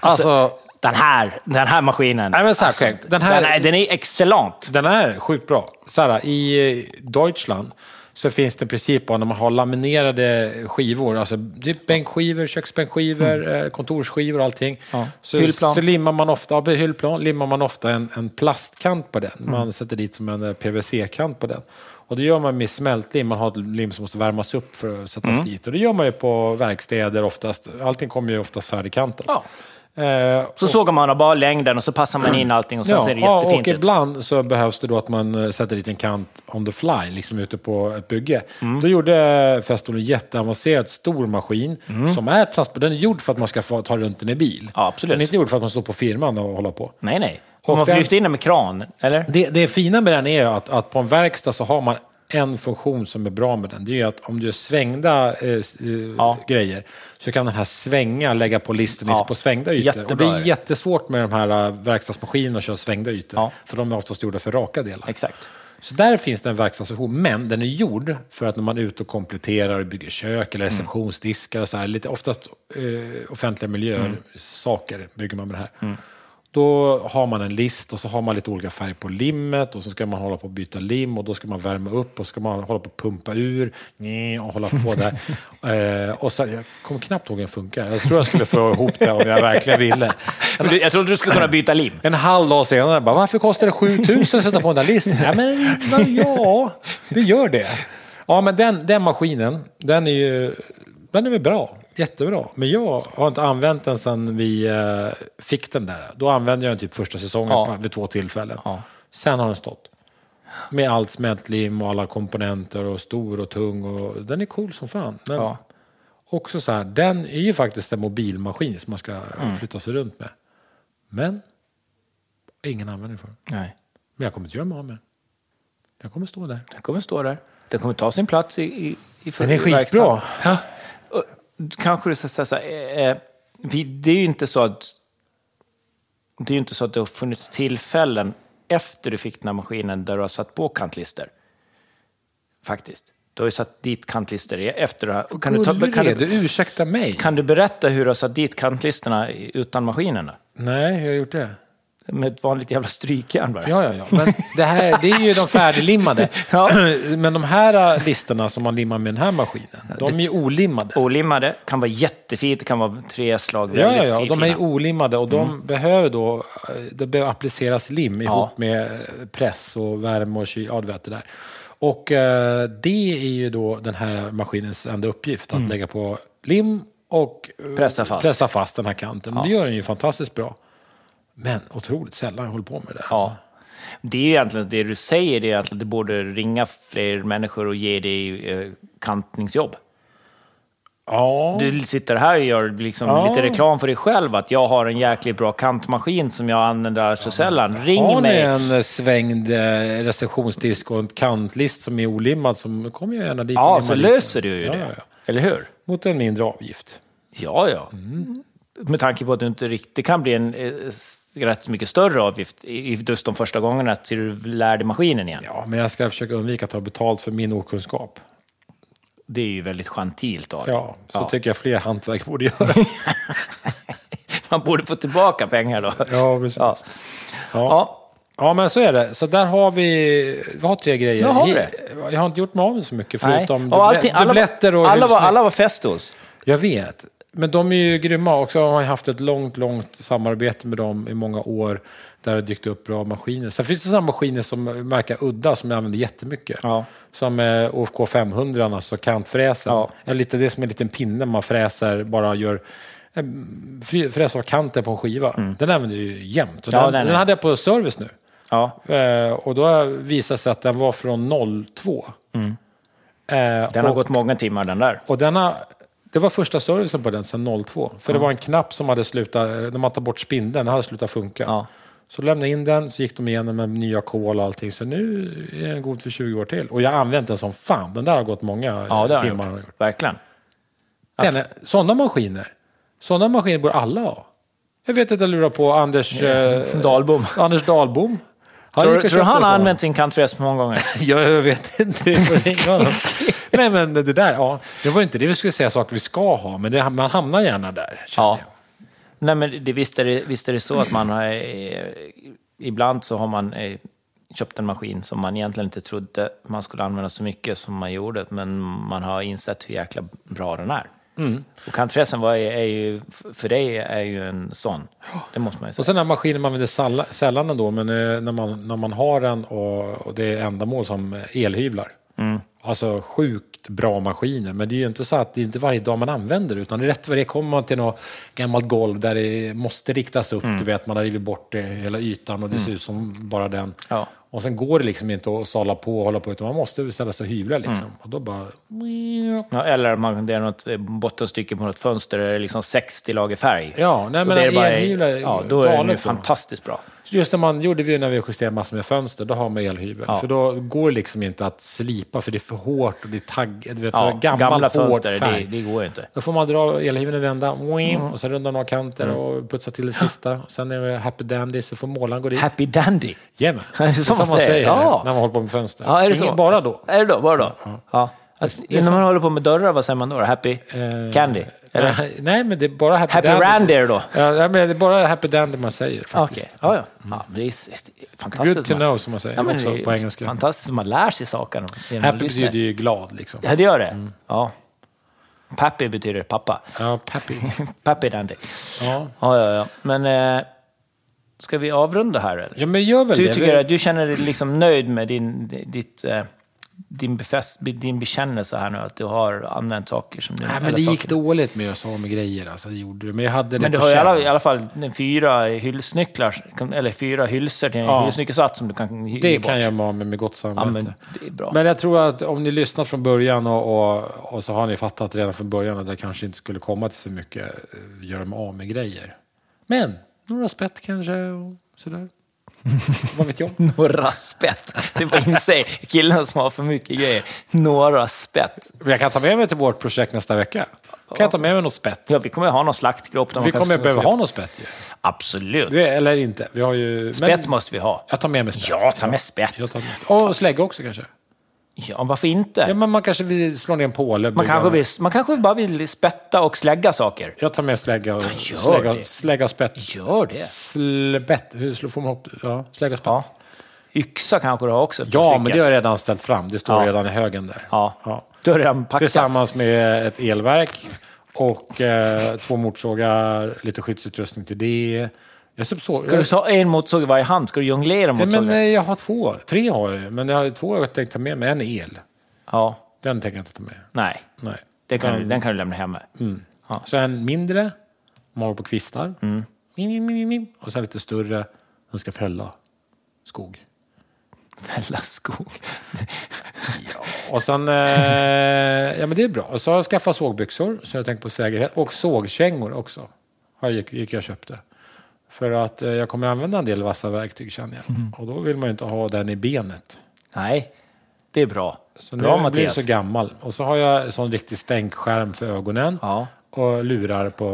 [SPEAKER 2] Alltså,
[SPEAKER 1] Den här, den här maskinen.
[SPEAKER 2] Nej, men så här, skämt. Den
[SPEAKER 1] den,
[SPEAKER 2] här-
[SPEAKER 1] här... Den, är, den är excellent.
[SPEAKER 2] den är sjukt bra. Så här, I eh, Deutschland så finns det en princip om när man har laminerade skivor, alltså typ bänkskivor, köksbänkskivor, eh, kontorsskivor och allting.
[SPEAKER 1] Mm. Ja.
[SPEAKER 2] Så,
[SPEAKER 1] Hyllplan.
[SPEAKER 2] så limmar man ofta, ja, på hyllplan limmar man ofta en, en plastkant på den.
[SPEAKER 1] Mm.
[SPEAKER 2] Man sätter dit som en eh, PVC-kant på den. Och det gör man med smältlim, man har ett lim som måste värmas upp för att
[SPEAKER 1] Mm.
[SPEAKER 2] sättas dit. Och det gör man ju på verkstäder oftast, allting kommer ju oftast färdigkantat.
[SPEAKER 1] Ja.
[SPEAKER 2] Eh,
[SPEAKER 1] Så sågar man bara längden och så passar man in allting och sen ser det
[SPEAKER 2] ja,
[SPEAKER 1] jättefint
[SPEAKER 2] och
[SPEAKER 1] ut.
[SPEAKER 2] ibland så behövs det då att man eh, sätter dit en kant on the fly, liksom ute på ett bygge.
[SPEAKER 1] Mm.
[SPEAKER 2] Då gjorde Festool en jätteavancerad stor maskin som är transport. Den är gjord för att man ska få ta runt den i bil.
[SPEAKER 1] Mm. Ja, absolut.
[SPEAKER 2] Den är inte gjord för att man står på firman och håller på.
[SPEAKER 1] Nej, nej.
[SPEAKER 2] Och
[SPEAKER 1] Och man får
[SPEAKER 2] den-
[SPEAKER 1] lyfta in den med kran, eller?
[SPEAKER 2] Det, det fina med den är ju att, att på en verkstad så har man en funktion som är bra med den. Det är ju att om du gör svängda eh, s- eh, grejer så kan den här svänga, lägga på listen
[SPEAKER 1] Ja.
[SPEAKER 2] på svängda ytor. och
[SPEAKER 1] Jättebra
[SPEAKER 2] det
[SPEAKER 1] är
[SPEAKER 2] är
[SPEAKER 1] det.
[SPEAKER 2] jättesvårt med de här eh, verkstadsmaskinerna att köra svängda ytor.
[SPEAKER 1] Ja.
[SPEAKER 2] För de är oftast gjorda för raka delar.
[SPEAKER 1] Exakt.
[SPEAKER 2] Så där finns det en verkstadsfunktion, men den är gjord för att när man är ute och kompletterar och bygger kök eller receptionsdiskar och så här, lite oftast eh, offentliga miljöer, saker bygger man med det här. Då har man en list och så har man lite olika färg på limmet och så ska man hålla på att byta lim och då ska man värma upp och så ska man hålla på att pumpa ur nj, och hålla på där. eh, och sen, jag kommer knappt ihåg hur den funkar. Jag tror jag skulle få ihop det om jag verkligen ville.
[SPEAKER 1] För du, jag trodde du skulle kunna byta lim.
[SPEAKER 2] En halv dag senare, bara, varför kostar det 7000 att sätta på den där listan? Nej, men vad- ja, det gör det. Ja, men den, den maskinen, den är ju den är väl bra. Jättebra. Men jag har inte använt den sedan vi eh, fick den där. Då använde jag den typ första säsongen
[SPEAKER 1] Ja.
[SPEAKER 2] på, vid två tillfällen.
[SPEAKER 1] Ja.
[SPEAKER 2] Sen har den stått. Med allt smältlim och alla komponenter och stor och tung. Och, den är cool som fan. Men
[SPEAKER 1] Ja.
[SPEAKER 2] också så här, den är ju faktiskt en mobilmaskin som man ska
[SPEAKER 1] Mm.
[SPEAKER 2] flytta sig runt med. Men ingen användning för den.
[SPEAKER 1] Nej.
[SPEAKER 2] Men jag kommer inte göra mig av med den. Jag kommer stå där.
[SPEAKER 1] Den kommer stå där. Den kommer ta sin plats i, i, i
[SPEAKER 2] Den är
[SPEAKER 1] i verkstaden.
[SPEAKER 2] skitbra. Ja.
[SPEAKER 1] Och Kanske du ska säga så här, eh, eh, vi, det är ju inte så att det är ju inte så att det har funnits tillfällen efter du fick den här maskinen där du har satt på kantlister. Faktiskt. Du har ju satt dit kantlister i- efter det här. Och Kan du, ta, kan,
[SPEAKER 2] Ullered,
[SPEAKER 1] du,
[SPEAKER 2] du ursäkta mig.
[SPEAKER 1] kan du berätta hur du har satt dit kantlisterna i- utan maskinerna?
[SPEAKER 2] Nej, hur har jag gjort det?
[SPEAKER 1] Med ett vanligt jävla strykjärn bara?
[SPEAKER 2] Ja, ja, ja. Men det, här, det är ju de färdiglimmade. Men de här äh, listorna som man limmar med den här maskinen, de är ju olimmade.
[SPEAKER 1] Olimmade, kan vara jättefint, det kan vara tre slag
[SPEAKER 2] Ja, ja,
[SPEAKER 1] väldigt
[SPEAKER 2] ja. De är ju
[SPEAKER 1] fina.
[SPEAKER 2] olimmade och de behöver då, eh, det behöver appliceras lim ihop med eh, press och värme och kyl, ja, du vet det där. Och eh, det är ju då den här maskinens enda uppgift, att lägga på lim och eh,
[SPEAKER 1] Pressa fast.
[SPEAKER 2] Mm. pressa fast den här kanten. Men Det gör den ju fantastiskt bra. Men otroligt sällan jag håller på med det alltså. där.
[SPEAKER 1] Ja. Det är ju egentligen det du säger, det är att det borde ringa fler människor och ge dig eh, kantningsjobb.
[SPEAKER 2] ja.
[SPEAKER 1] Du sitter här och gör liksom
[SPEAKER 2] Ja.
[SPEAKER 1] lite reklam för dig själv, att jag har en jäkligt bra kantmaskin som jag använder så sällan. Ring
[SPEAKER 2] Har ni
[SPEAKER 1] mig!
[SPEAKER 2] en eh, svängd eh, recensionsdisk och en kantlist som är olimmad så kommer jag gärna dit. och
[SPEAKER 1] Ja,
[SPEAKER 2] limmar
[SPEAKER 1] så
[SPEAKER 2] dit
[SPEAKER 1] löser du ju
[SPEAKER 2] Ja,
[SPEAKER 1] det.
[SPEAKER 2] ja, ja.
[SPEAKER 1] Eller hur?
[SPEAKER 2] Mot en mindre avgift.
[SPEAKER 1] Ja, ja.
[SPEAKER 2] Mm.
[SPEAKER 1] Med tanke på att du inte riktigt... Det kan bli en eh, s- rätt mycket större avgift i i just de första gångerna till du lär dig maskinen igen.
[SPEAKER 2] Ja, men jag ska försöka undvika att ta betalt för min okunskap.
[SPEAKER 1] Det är ju väldigt gentilt av dig.
[SPEAKER 2] Ja, så
[SPEAKER 1] Ja.
[SPEAKER 2] tycker jag fler hantverk borde göra.
[SPEAKER 1] Man borde få tillbaka pengar då.
[SPEAKER 2] Ja, precis.
[SPEAKER 1] Ja.
[SPEAKER 2] Ja.
[SPEAKER 1] Ja.
[SPEAKER 2] ja, men så är det. Så där har vi, vi har tre grejer.
[SPEAKER 1] Nu har vi
[SPEAKER 2] Jag- Jag har inte gjort mig av med så mycket,
[SPEAKER 1] Nej.
[SPEAKER 2] förutom
[SPEAKER 1] Och allting-
[SPEAKER 2] duble- dubbletter och
[SPEAKER 1] alla, var,
[SPEAKER 2] husnygg-
[SPEAKER 1] alla var Festols.
[SPEAKER 2] Jag vet. Men de är ju grymma också. Jag har ju haft ett långt, långt samarbete med dem i många år. Där det har dykt upp bra maskiner. Sen finns det sådana maskiner som verkar udda, som jag använder jättemycket.
[SPEAKER 1] Ja.
[SPEAKER 2] Som eh, OFK 500, alltså kantfräsen.
[SPEAKER 1] Ja.
[SPEAKER 2] Eller lite, det är som en liten pinne man fräser, bara gör eh, fri- fräser av kanten på en skiva. Den använder jag ju jämt. Och
[SPEAKER 1] Mm. Ja,
[SPEAKER 2] den,
[SPEAKER 1] den är-
[SPEAKER 2] den hade jag på service nu.
[SPEAKER 1] Ja.
[SPEAKER 2] Eh, och då visade det sig att den var från 02. Eh,
[SPEAKER 1] Mm. Den har
[SPEAKER 2] och-
[SPEAKER 1] gått många timmar den där.
[SPEAKER 2] och denna, det var första servicen på den sedan 02. För det var en knapp som hade slutat, eh, när man tar bort spindeln, den hade slutat funka.
[SPEAKER 1] Ja.
[SPEAKER 2] Så lämnade jag in den, så gick de igenom med nya kol och allting. Så nu är den god för 20 år till. Och jag har använt den som fan. Den där har gått många eh,
[SPEAKER 1] Ja, det har
[SPEAKER 2] timmar.
[SPEAKER 1] den
[SPEAKER 2] har
[SPEAKER 1] gjort. Alltså- Verkligen.
[SPEAKER 2] Den är, sådana maskiner, sådana maskiner borde alla ha. Jag vet att jag lurar på Anders, eh,
[SPEAKER 1] Dahlbom.
[SPEAKER 2] Anders Dahlbom. Han
[SPEAKER 1] tror,
[SPEAKER 2] lyckas
[SPEAKER 1] tror du
[SPEAKER 2] ofta
[SPEAKER 1] han har
[SPEAKER 2] få-
[SPEAKER 1] använt sin kantfräs många gånger?
[SPEAKER 2] Ja, jag vet inte. Vi får ringa honom. Nej, men det där, ja. Det var inte det vi skulle säga saker vi ska ha, men det, man hamnar gärna där. känner
[SPEAKER 1] Ja.
[SPEAKER 2] jag.
[SPEAKER 1] Nej, men det, visst, är det, visst är det så att man har... Eh, ibland så har man eh, köpt en maskin som man egentligen inte trodde man skulle använda så mycket som man gjorde, men man har insett hur jäkla bra den är. Och kantfräsen var, är ju, för dig är ju en sån. Det måste man ju säga.
[SPEAKER 2] Och sen den här maskinen man använder salla- sällan ändå, men eh, när man, när man har den och, och det är ändamål som eh, elhyvlar.
[SPEAKER 1] Mm.
[SPEAKER 2] Alltså sjukt bra maskiner, men det är ju inte så att det är inte varje dag man använder det, utan rätt vad det är kommer man till något gammalt golv där det måste riktas upp,
[SPEAKER 1] Mm.
[SPEAKER 2] du vet, man har rivit bort det, hela ytan och det ser ut som bara den.
[SPEAKER 1] Ja.
[SPEAKER 2] Och sen går det liksom inte att sala på och hålla på, utan man måste ställa sig och hyvla liksom.
[SPEAKER 1] Mm.
[SPEAKER 2] Och då bara...
[SPEAKER 1] Ja, eller om man, det är något eh, bottenstycke på något fönster där det är liksom 60 lager färg.
[SPEAKER 2] Ja, nej
[SPEAKER 1] Och
[SPEAKER 2] men
[SPEAKER 1] det är bara,
[SPEAKER 2] elhyvlar är
[SPEAKER 1] ja, då är den ju
[SPEAKER 2] galet bra.
[SPEAKER 1] fantastiskt bra.
[SPEAKER 2] Så just när man gjorde vi när vi justerade massor med fönster, då har man elhyvel. För då går det liksom inte att slipa, för det är för hårt och det är tagg, du vet,
[SPEAKER 1] Ja,
[SPEAKER 2] gammal,
[SPEAKER 1] gamla
[SPEAKER 2] hård
[SPEAKER 1] fönster,
[SPEAKER 2] färg.
[SPEAKER 1] det, Mm. det går ju inte.
[SPEAKER 2] Då får man dra elhyveln i vända, och sen runda några kanter
[SPEAKER 1] Mm.
[SPEAKER 2] och putsa till det sista. Sen är det happy dandy, så får målaren gå dit.
[SPEAKER 1] Happy dandy!
[SPEAKER 2] Jajamän,
[SPEAKER 1] Det är så man säger, ja.
[SPEAKER 2] när man håller på med fönster.
[SPEAKER 1] Ja, är det
[SPEAKER 2] Ingen
[SPEAKER 1] så?
[SPEAKER 2] bara då.
[SPEAKER 1] Är det då? Bara då? Ja. Alltså, innan man håller på med dörrar, vad säger man då? Happy candy? Eller
[SPEAKER 2] Nej, Nej, men det är bara happy,
[SPEAKER 1] happy
[SPEAKER 2] Eh, dandy.
[SPEAKER 1] randier då?
[SPEAKER 2] Ja, nej, men det är bara happy dandy man säger
[SPEAKER 1] Okej,
[SPEAKER 2] faktiskt.
[SPEAKER 1] ja, ja. ja men det är s- fantastiskt.
[SPEAKER 2] Good to
[SPEAKER 1] man-
[SPEAKER 2] know, som man säger
[SPEAKER 1] Ja, men
[SPEAKER 2] också
[SPEAKER 1] det är
[SPEAKER 2] på engelska.
[SPEAKER 1] Fantastiskt, man lär sig saker. genom att
[SPEAKER 2] Happy
[SPEAKER 1] lyssna.
[SPEAKER 2] betyder ju glad liksom.
[SPEAKER 1] Ja, det gör det. Ja. Pappy betyder pappa.
[SPEAKER 2] Ja, peppy.
[SPEAKER 1] Pappy dandy.
[SPEAKER 2] Ja.
[SPEAKER 1] Ja, ja, ja. Men eh, ska vi avrunda här eller?
[SPEAKER 2] Ja, men gör väl
[SPEAKER 1] Du,
[SPEAKER 2] det.
[SPEAKER 1] tycker att du känner dig liksom nöjd med din, ditt, eh, din, befäst, din bekännelse här nu, att du har använt saker som... Du,
[SPEAKER 2] Nej, men
[SPEAKER 1] eller
[SPEAKER 2] det gick
[SPEAKER 1] saker.
[SPEAKER 2] dåligt med att av med grejer. Alltså, det gjorde det. Men jag hade det
[SPEAKER 1] Men du
[SPEAKER 2] på
[SPEAKER 1] har ju i alla,
[SPEAKER 2] känn.
[SPEAKER 1] i alla fall fyra hyllsnycklar, eller fyra hylsor till en
[SPEAKER 2] Ja.
[SPEAKER 1] hyllsnyckelsats som du kan hy-
[SPEAKER 2] Det
[SPEAKER 1] ge bort.
[SPEAKER 2] kan jag vara med med gott
[SPEAKER 1] Ja,
[SPEAKER 2] samvete.
[SPEAKER 1] men
[SPEAKER 2] men...
[SPEAKER 1] det är bra.
[SPEAKER 2] jag tror att om ni lyssnat från början och, och, och så har ni fattat redan från början att jag kanske inte skulle komma till så mycket eh, göra mig av med grejer. Men några spett kanske och sådär. Vad vet jag?
[SPEAKER 1] Några spett. Det var in sig. Killen som har för mycket grejer. Några spett.
[SPEAKER 2] Men jag kan ta med mig till vårt projekt nästa vecka. Kan jag ta med mig något spett?
[SPEAKER 1] Ja, vi kommer ju ha någon slaktgrupp. där man
[SPEAKER 2] Vi
[SPEAKER 1] kan-
[SPEAKER 2] kommer behöva ha något spett ju.
[SPEAKER 1] Absolut.
[SPEAKER 2] Det- Eller inte. Vi har ju...
[SPEAKER 1] Spett
[SPEAKER 2] men...
[SPEAKER 1] måste vi ha.
[SPEAKER 2] Jag tar med mig spett.
[SPEAKER 1] Ja, ta med spett.
[SPEAKER 2] Jag tar med... Och slägga också kanske.
[SPEAKER 1] Ja, varför inte?
[SPEAKER 2] Ja, men man kanske vill slå ner en påle.
[SPEAKER 1] Man kanske, vill, man kanske bara vill spätta och slägga saker.
[SPEAKER 2] Jag tar med slägga och
[SPEAKER 1] gör
[SPEAKER 2] slägga,
[SPEAKER 1] det.
[SPEAKER 2] slägga och spett.
[SPEAKER 1] Gör det.
[SPEAKER 2] Slbett. Hur slår- får man ihop det? Ja, slägga och spett.
[SPEAKER 1] Ja. Yxa kanske du har också? ett par
[SPEAKER 2] Ja, men
[SPEAKER 1] stycken.
[SPEAKER 2] det har jag redan ställt fram. Det står
[SPEAKER 1] Ja.
[SPEAKER 2] redan i högen där.
[SPEAKER 1] Ja. Du har redan packat.
[SPEAKER 2] Tillsammans med ett elverk och eh, två motorsågar, lite skyddsutrustning till det. Jag sub- så-
[SPEAKER 1] Ska du ha en motorsåg i varje hand? Ska du jonglera
[SPEAKER 2] Ja,
[SPEAKER 1] motorsågar?
[SPEAKER 2] men eh, jag har två. Tre har jag ju, men jag har två jag tänkt ta med mig. En är el.
[SPEAKER 1] Ja,
[SPEAKER 2] Den tänker jag inte ta med.
[SPEAKER 1] nej.
[SPEAKER 2] Nej. Mm.
[SPEAKER 1] Det kan, du- Den kan du lämna hemma.
[SPEAKER 2] Så en mindre, mal på kvistar. Mim, mim, mim, mim. Och sen lite större, den ska fälla skog.
[SPEAKER 1] Fälla skog.
[SPEAKER 2] Och sen, eh, ja men det är bra. Och så har jag skaffat sågbyxor, så jag tänker på säkerhet. Och sågkängor också, har jag, gick, gick jag och köpte. För att eh, jag kommer använda en del vassa verktyg känner jag.
[SPEAKER 1] Mm.
[SPEAKER 2] Och då vill man ju inte ha den i benet.
[SPEAKER 1] nej, det är bra.
[SPEAKER 2] Så
[SPEAKER 1] bra
[SPEAKER 2] nu blir jag
[SPEAKER 1] Mattias.
[SPEAKER 2] så gammal. Och så har jag en sån riktig stänkskärm för ögonen.
[SPEAKER 1] Ja.
[SPEAKER 2] Och lurar på,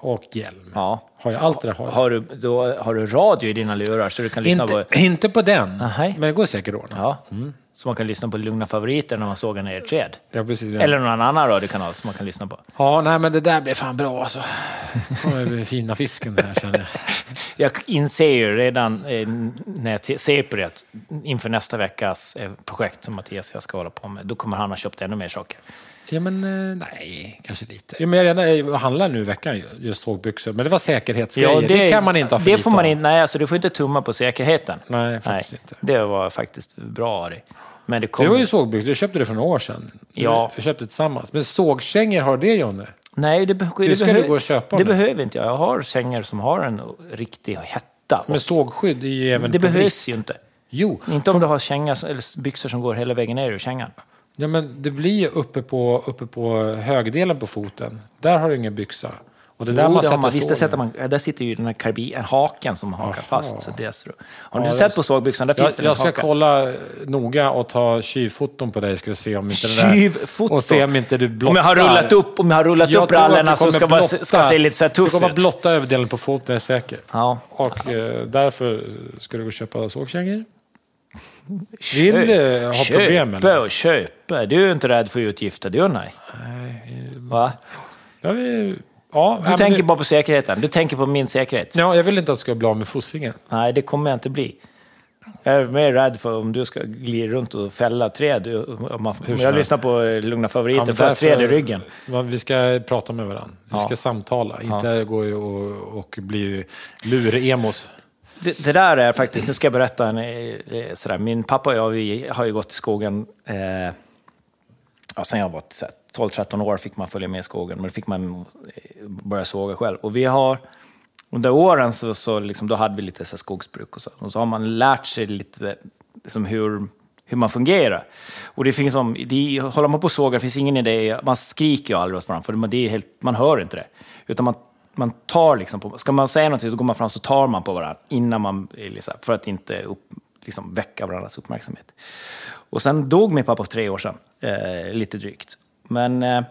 [SPEAKER 2] och hjälm.
[SPEAKER 1] Ja.
[SPEAKER 2] Har jag allt det där har jag.
[SPEAKER 1] Har du, då, har du radio i dina lurar så du kan lyssna
[SPEAKER 2] Inte,
[SPEAKER 1] på...
[SPEAKER 2] inte på den,
[SPEAKER 1] Nej.
[SPEAKER 2] men det går säkert att ordna.
[SPEAKER 1] Ja. mm. Så man kan lyssna på Lugna favoriter när man sågar ner ett träd.
[SPEAKER 2] Ja, precis.
[SPEAKER 1] Eller någon annan radiokanal som man kan lyssna på.
[SPEAKER 2] Ja, nej men det där blev fan bra alltså. Det blir fina fisken här känner jag.
[SPEAKER 1] Jag inser ju redan eh, när jag te- ser på det, inför nästa veckas eh, projekt som Mattias och jag ska hålla på med, då kommer han ha köpt ännu mer saker.
[SPEAKER 2] Ja men eh, nej, kanske lite. Ja, men jag, redan, jag handlar nu i veckan ju, just sågbyxor, men det var säkerhetsgrejer. det, kan man inte ha för
[SPEAKER 1] Det
[SPEAKER 2] lite
[SPEAKER 1] får man
[SPEAKER 2] av.
[SPEAKER 1] inte, nej, alltså, du får inte tumma på säkerheten.
[SPEAKER 2] Nej, faktiskt inte.
[SPEAKER 1] Det var faktiskt bra av dig. Men det
[SPEAKER 2] Du
[SPEAKER 1] kommer...
[SPEAKER 2] har ju sågbyxor, du köpte det för några år sedan.
[SPEAKER 1] Ja.
[SPEAKER 2] Du köpte tillsammans. Men sågkängor, har du det Jonny?
[SPEAKER 1] Nej, det, behöver
[SPEAKER 2] Det ska du gå och köpa
[SPEAKER 1] Det
[SPEAKER 2] nu.
[SPEAKER 1] behöver inte jag. Jag har sängar som har en riktig hetta.
[SPEAKER 2] Men sågskydd är ju även
[SPEAKER 1] det
[SPEAKER 2] på
[SPEAKER 1] behövs
[SPEAKER 2] brist.
[SPEAKER 1] ju inte.
[SPEAKER 2] Jo,
[SPEAKER 1] Inte om du har kängar, som- eller byxor som går hela vägen ner ur kängan.
[SPEAKER 2] ja, men det blir ju uppe på, uppe på högdelen på foten. Där har du ingen byxa. Och Och det där man
[SPEAKER 1] det har
[SPEAKER 2] sätter
[SPEAKER 1] man, visst, där,
[SPEAKER 2] sågen.
[SPEAKER 1] sätter man, ja, där sitter ju den här karbi, en haken som hakar
[SPEAKER 2] Aha.
[SPEAKER 1] fast. Så det är så. Har
[SPEAKER 2] Ja,
[SPEAKER 1] du
[SPEAKER 2] det-
[SPEAKER 1] sett på sågbyxan? Där
[SPEAKER 2] Jag,
[SPEAKER 1] finns det en
[SPEAKER 2] jag ska
[SPEAKER 1] haka.
[SPEAKER 2] kolla noga och ta tjuvfoton på dig ska se om inte det där...
[SPEAKER 1] Tjuvfoto!
[SPEAKER 2] Och se om inte du blottar.
[SPEAKER 1] Om jag har rullat upp, om jag har rullat
[SPEAKER 2] Jag
[SPEAKER 1] upp
[SPEAKER 2] tror att du
[SPEAKER 1] brallorna så
[SPEAKER 2] kommer
[SPEAKER 1] ska, vara, ska
[SPEAKER 2] blotta-
[SPEAKER 1] se lite så här
[SPEAKER 2] Du
[SPEAKER 1] tuff
[SPEAKER 2] kommer
[SPEAKER 1] ut.
[SPEAKER 2] blotta överdelen på foten, jag är säker.
[SPEAKER 1] Ja.
[SPEAKER 2] Och eh, därför ska du gå och köpa sågkängor. Vill du ha problem
[SPEAKER 1] Köpa
[SPEAKER 2] eller?
[SPEAKER 1] och köpa. Du är ju inte rädd för utgifter, du nej. Va?
[SPEAKER 2] Jag vill, ja,
[SPEAKER 1] Du
[SPEAKER 2] ja,
[SPEAKER 1] tänker
[SPEAKER 2] men,
[SPEAKER 1] bara på säkerheten. Du tänker på min säkerhet.
[SPEAKER 2] ja, jag vill inte att du ska bli av med fossingen.
[SPEAKER 1] Nej, det kommer jag inte bli. Jag är mer rädd för om du ska glida runt och fälla träd. Du- Om man, om
[SPEAKER 2] som
[SPEAKER 1] jag
[SPEAKER 2] helst.
[SPEAKER 1] lyssnar på eh, Lugna Favoriter,
[SPEAKER 2] men
[SPEAKER 1] får jag
[SPEAKER 2] därför-
[SPEAKER 1] träd i ryggen.
[SPEAKER 2] Va, Vi ska prata med varandra. Vi ska samtala, inte gå och, och bli lur-emos.
[SPEAKER 1] Det, det där är faktiskt, nu ska jag berätta en, eh, eh, sådär. Min pappa och jag vi har ju gått i skogen eh, ja, sen jag var så här 12-13 år fick man följa med i skogen, men då fick man eh, börja såga själv. Och vi har, under åren så, så liksom, då hade vi lite så här skogsbruk och så. Och så har man lärt sig lite liksom, hur, hur man fungerar. Och det finns som, det, håller man på och sågar, det finns ingen idé, man skriker ju aldrig åt varandra, för man, det är helt, man hör inte det. Utan man, man tar liksom på, ska man säga någonting så går man fram så tar man på varandra innan man, eh, liksom, för att inte upp, liksom, väcka varandras uppmärksamhet. Och sen dog min pappa för tre år sedan, eh, lite drygt. Men eh,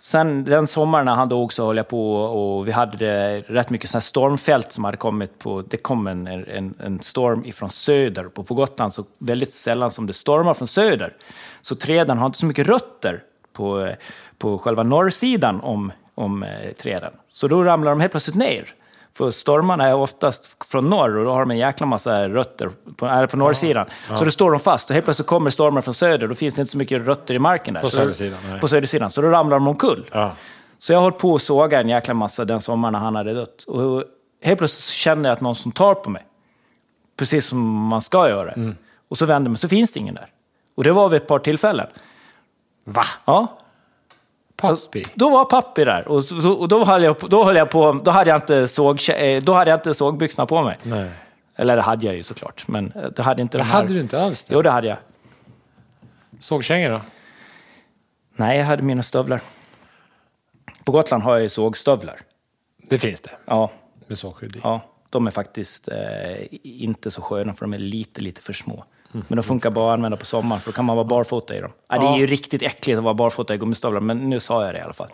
[SPEAKER 1] sen den sommaren när han dog så höll jag på och, och vi hade eh, rätt mycket så här stormfält som hade kommit på... Det kom en, en, en storm ifrån söder. På, på Gotland så väldigt sällan som det stormar från söder. Så träden har inte så mycket rötter på, eh, på själva norrsidan om, om eh, träden. Så då ramlar de helt plötsligt ner. För stormarna är oftast från norr och då har de en jäkla massa rötter på, är på norrsidan. Så då står de fast och helt plötsligt kommer stormen från söder. Då finns det inte så mycket rötter i marken där.
[SPEAKER 2] På
[SPEAKER 1] Så-
[SPEAKER 2] södersidan, nej.
[SPEAKER 1] På södersidan. Så då ramlar de omkull.
[SPEAKER 2] Ja.
[SPEAKER 1] Så jag höll på att såga en jäkla massa den sommaren när han hade dött. Och helt plötsligt så kände jag att någon som tar på mig. Precis som man ska göra.
[SPEAKER 2] Mm.
[SPEAKER 1] Och så vänder man så finns det ingen där. Och det var vid ett par tillfällen.
[SPEAKER 2] Va?
[SPEAKER 1] Ja,
[SPEAKER 2] Pappi?
[SPEAKER 1] då var pappi där och, så- och då, höll jag, på- då höll jag på, då hade jag inte, såg, eh, då hade jag inte sågbyxorna på mig.
[SPEAKER 2] Nej.
[SPEAKER 1] Eller det hade jag ju såklart, men eh, det hade inte
[SPEAKER 2] Det
[SPEAKER 1] de här...
[SPEAKER 2] hade du inte alls. det.
[SPEAKER 1] Jo, det hade jag.
[SPEAKER 2] Sågkängor då?
[SPEAKER 1] Nej, jag hade mina stövlar. På Gotland har jag ju sågstövlar.
[SPEAKER 2] Det finns det.
[SPEAKER 1] Ja,
[SPEAKER 2] Med sågskydd i.
[SPEAKER 1] ja, de är faktiskt eh, inte så sköna för de är lite, lite för små.
[SPEAKER 2] Mm.
[SPEAKER 1] Men de funkar bara att använda på sommaren, för då kan man vara barfota i dem. Ja, det är ju riktigt äckligt att vara barfota i gummistövlar, men nu sa jag det i alla fall.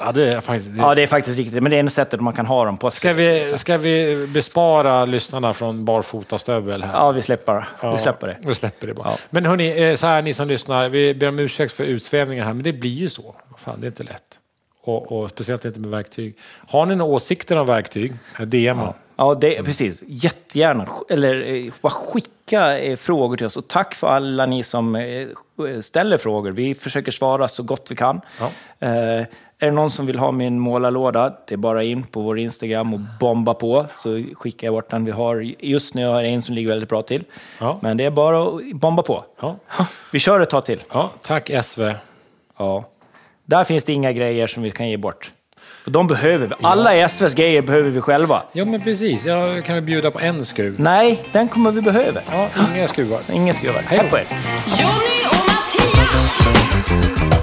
[SPEAKER 2] Ja, det är faktiskt...
[SPEAKER 1] Ja, det är faktiskt riktigt, men det är enda sättet man kan ha dem på sig.
[SPEAKER 2] Ska vi, ska vi bespara lyssnarna från barfotastövel här?
[SPEAKER 1] Ja, vi släpper, vi släpper det.
[SPEAKER 2] Vi släpper det bara.
[SPEAKER 1] Ja.
[SPEAKER 2] Men hörni, eh, så här ni som lyssnar, vi ber om ursäkt för utsvävningar här, men det blir ju så. Vad Fan, det är inte lätt. Och, och speciellt inte med verktyg. Har ni några åsikter om verktyg? Eh, DM ja.
[SPEAKER 1] Ja, det,
[SPEAKER 2] Mm.
[SPEAKER 1] precis. Jättegärna. Sk- Eller eh, bara skicka eh, frågor till oss. Och tack för alla ni som eh, ställer frågor. Vi försöker svara så gott vi kan.
[SPEAKER 2] Ja.
[SPEAKER 1] Eh, är det någon som vill ha min målarlåda, det är bara in på vår Instagram och bomba på, så skickar jag bort den. Vi har, just nu har jag en som ligger väldigt bra till.
[SPEAKER 2] Ja.
[SPEAKER 1] Men det är bara att bomba på.
[SPEAKER 2] Ja.
[SPEAKER 1] Vi kör ett tag till.
[SPEAKER 2] ja. Tack SV.
[SPEAKER 1] Ja. Där finns det inga grejer som vi kan ge bort. För de behöver vi. Alla SVs grejer behöver vi själva.
[SPEAKER 2] Ja, men precis. Jag kan vi bjuda på en skruv.
[SPEAKER 1] Nej, den kommer vi behöva.
[SPEAKER 2] Ja, inga skruvar.
[SPEAKER 1] Ingen skruvar.
[SPEAKER 2] Hej
[SPEAKER 1] Hej
[SPEAKER 2] då.
[SPEAKER 1] på er.
[SPEAKER 3] Johnny och Mattias!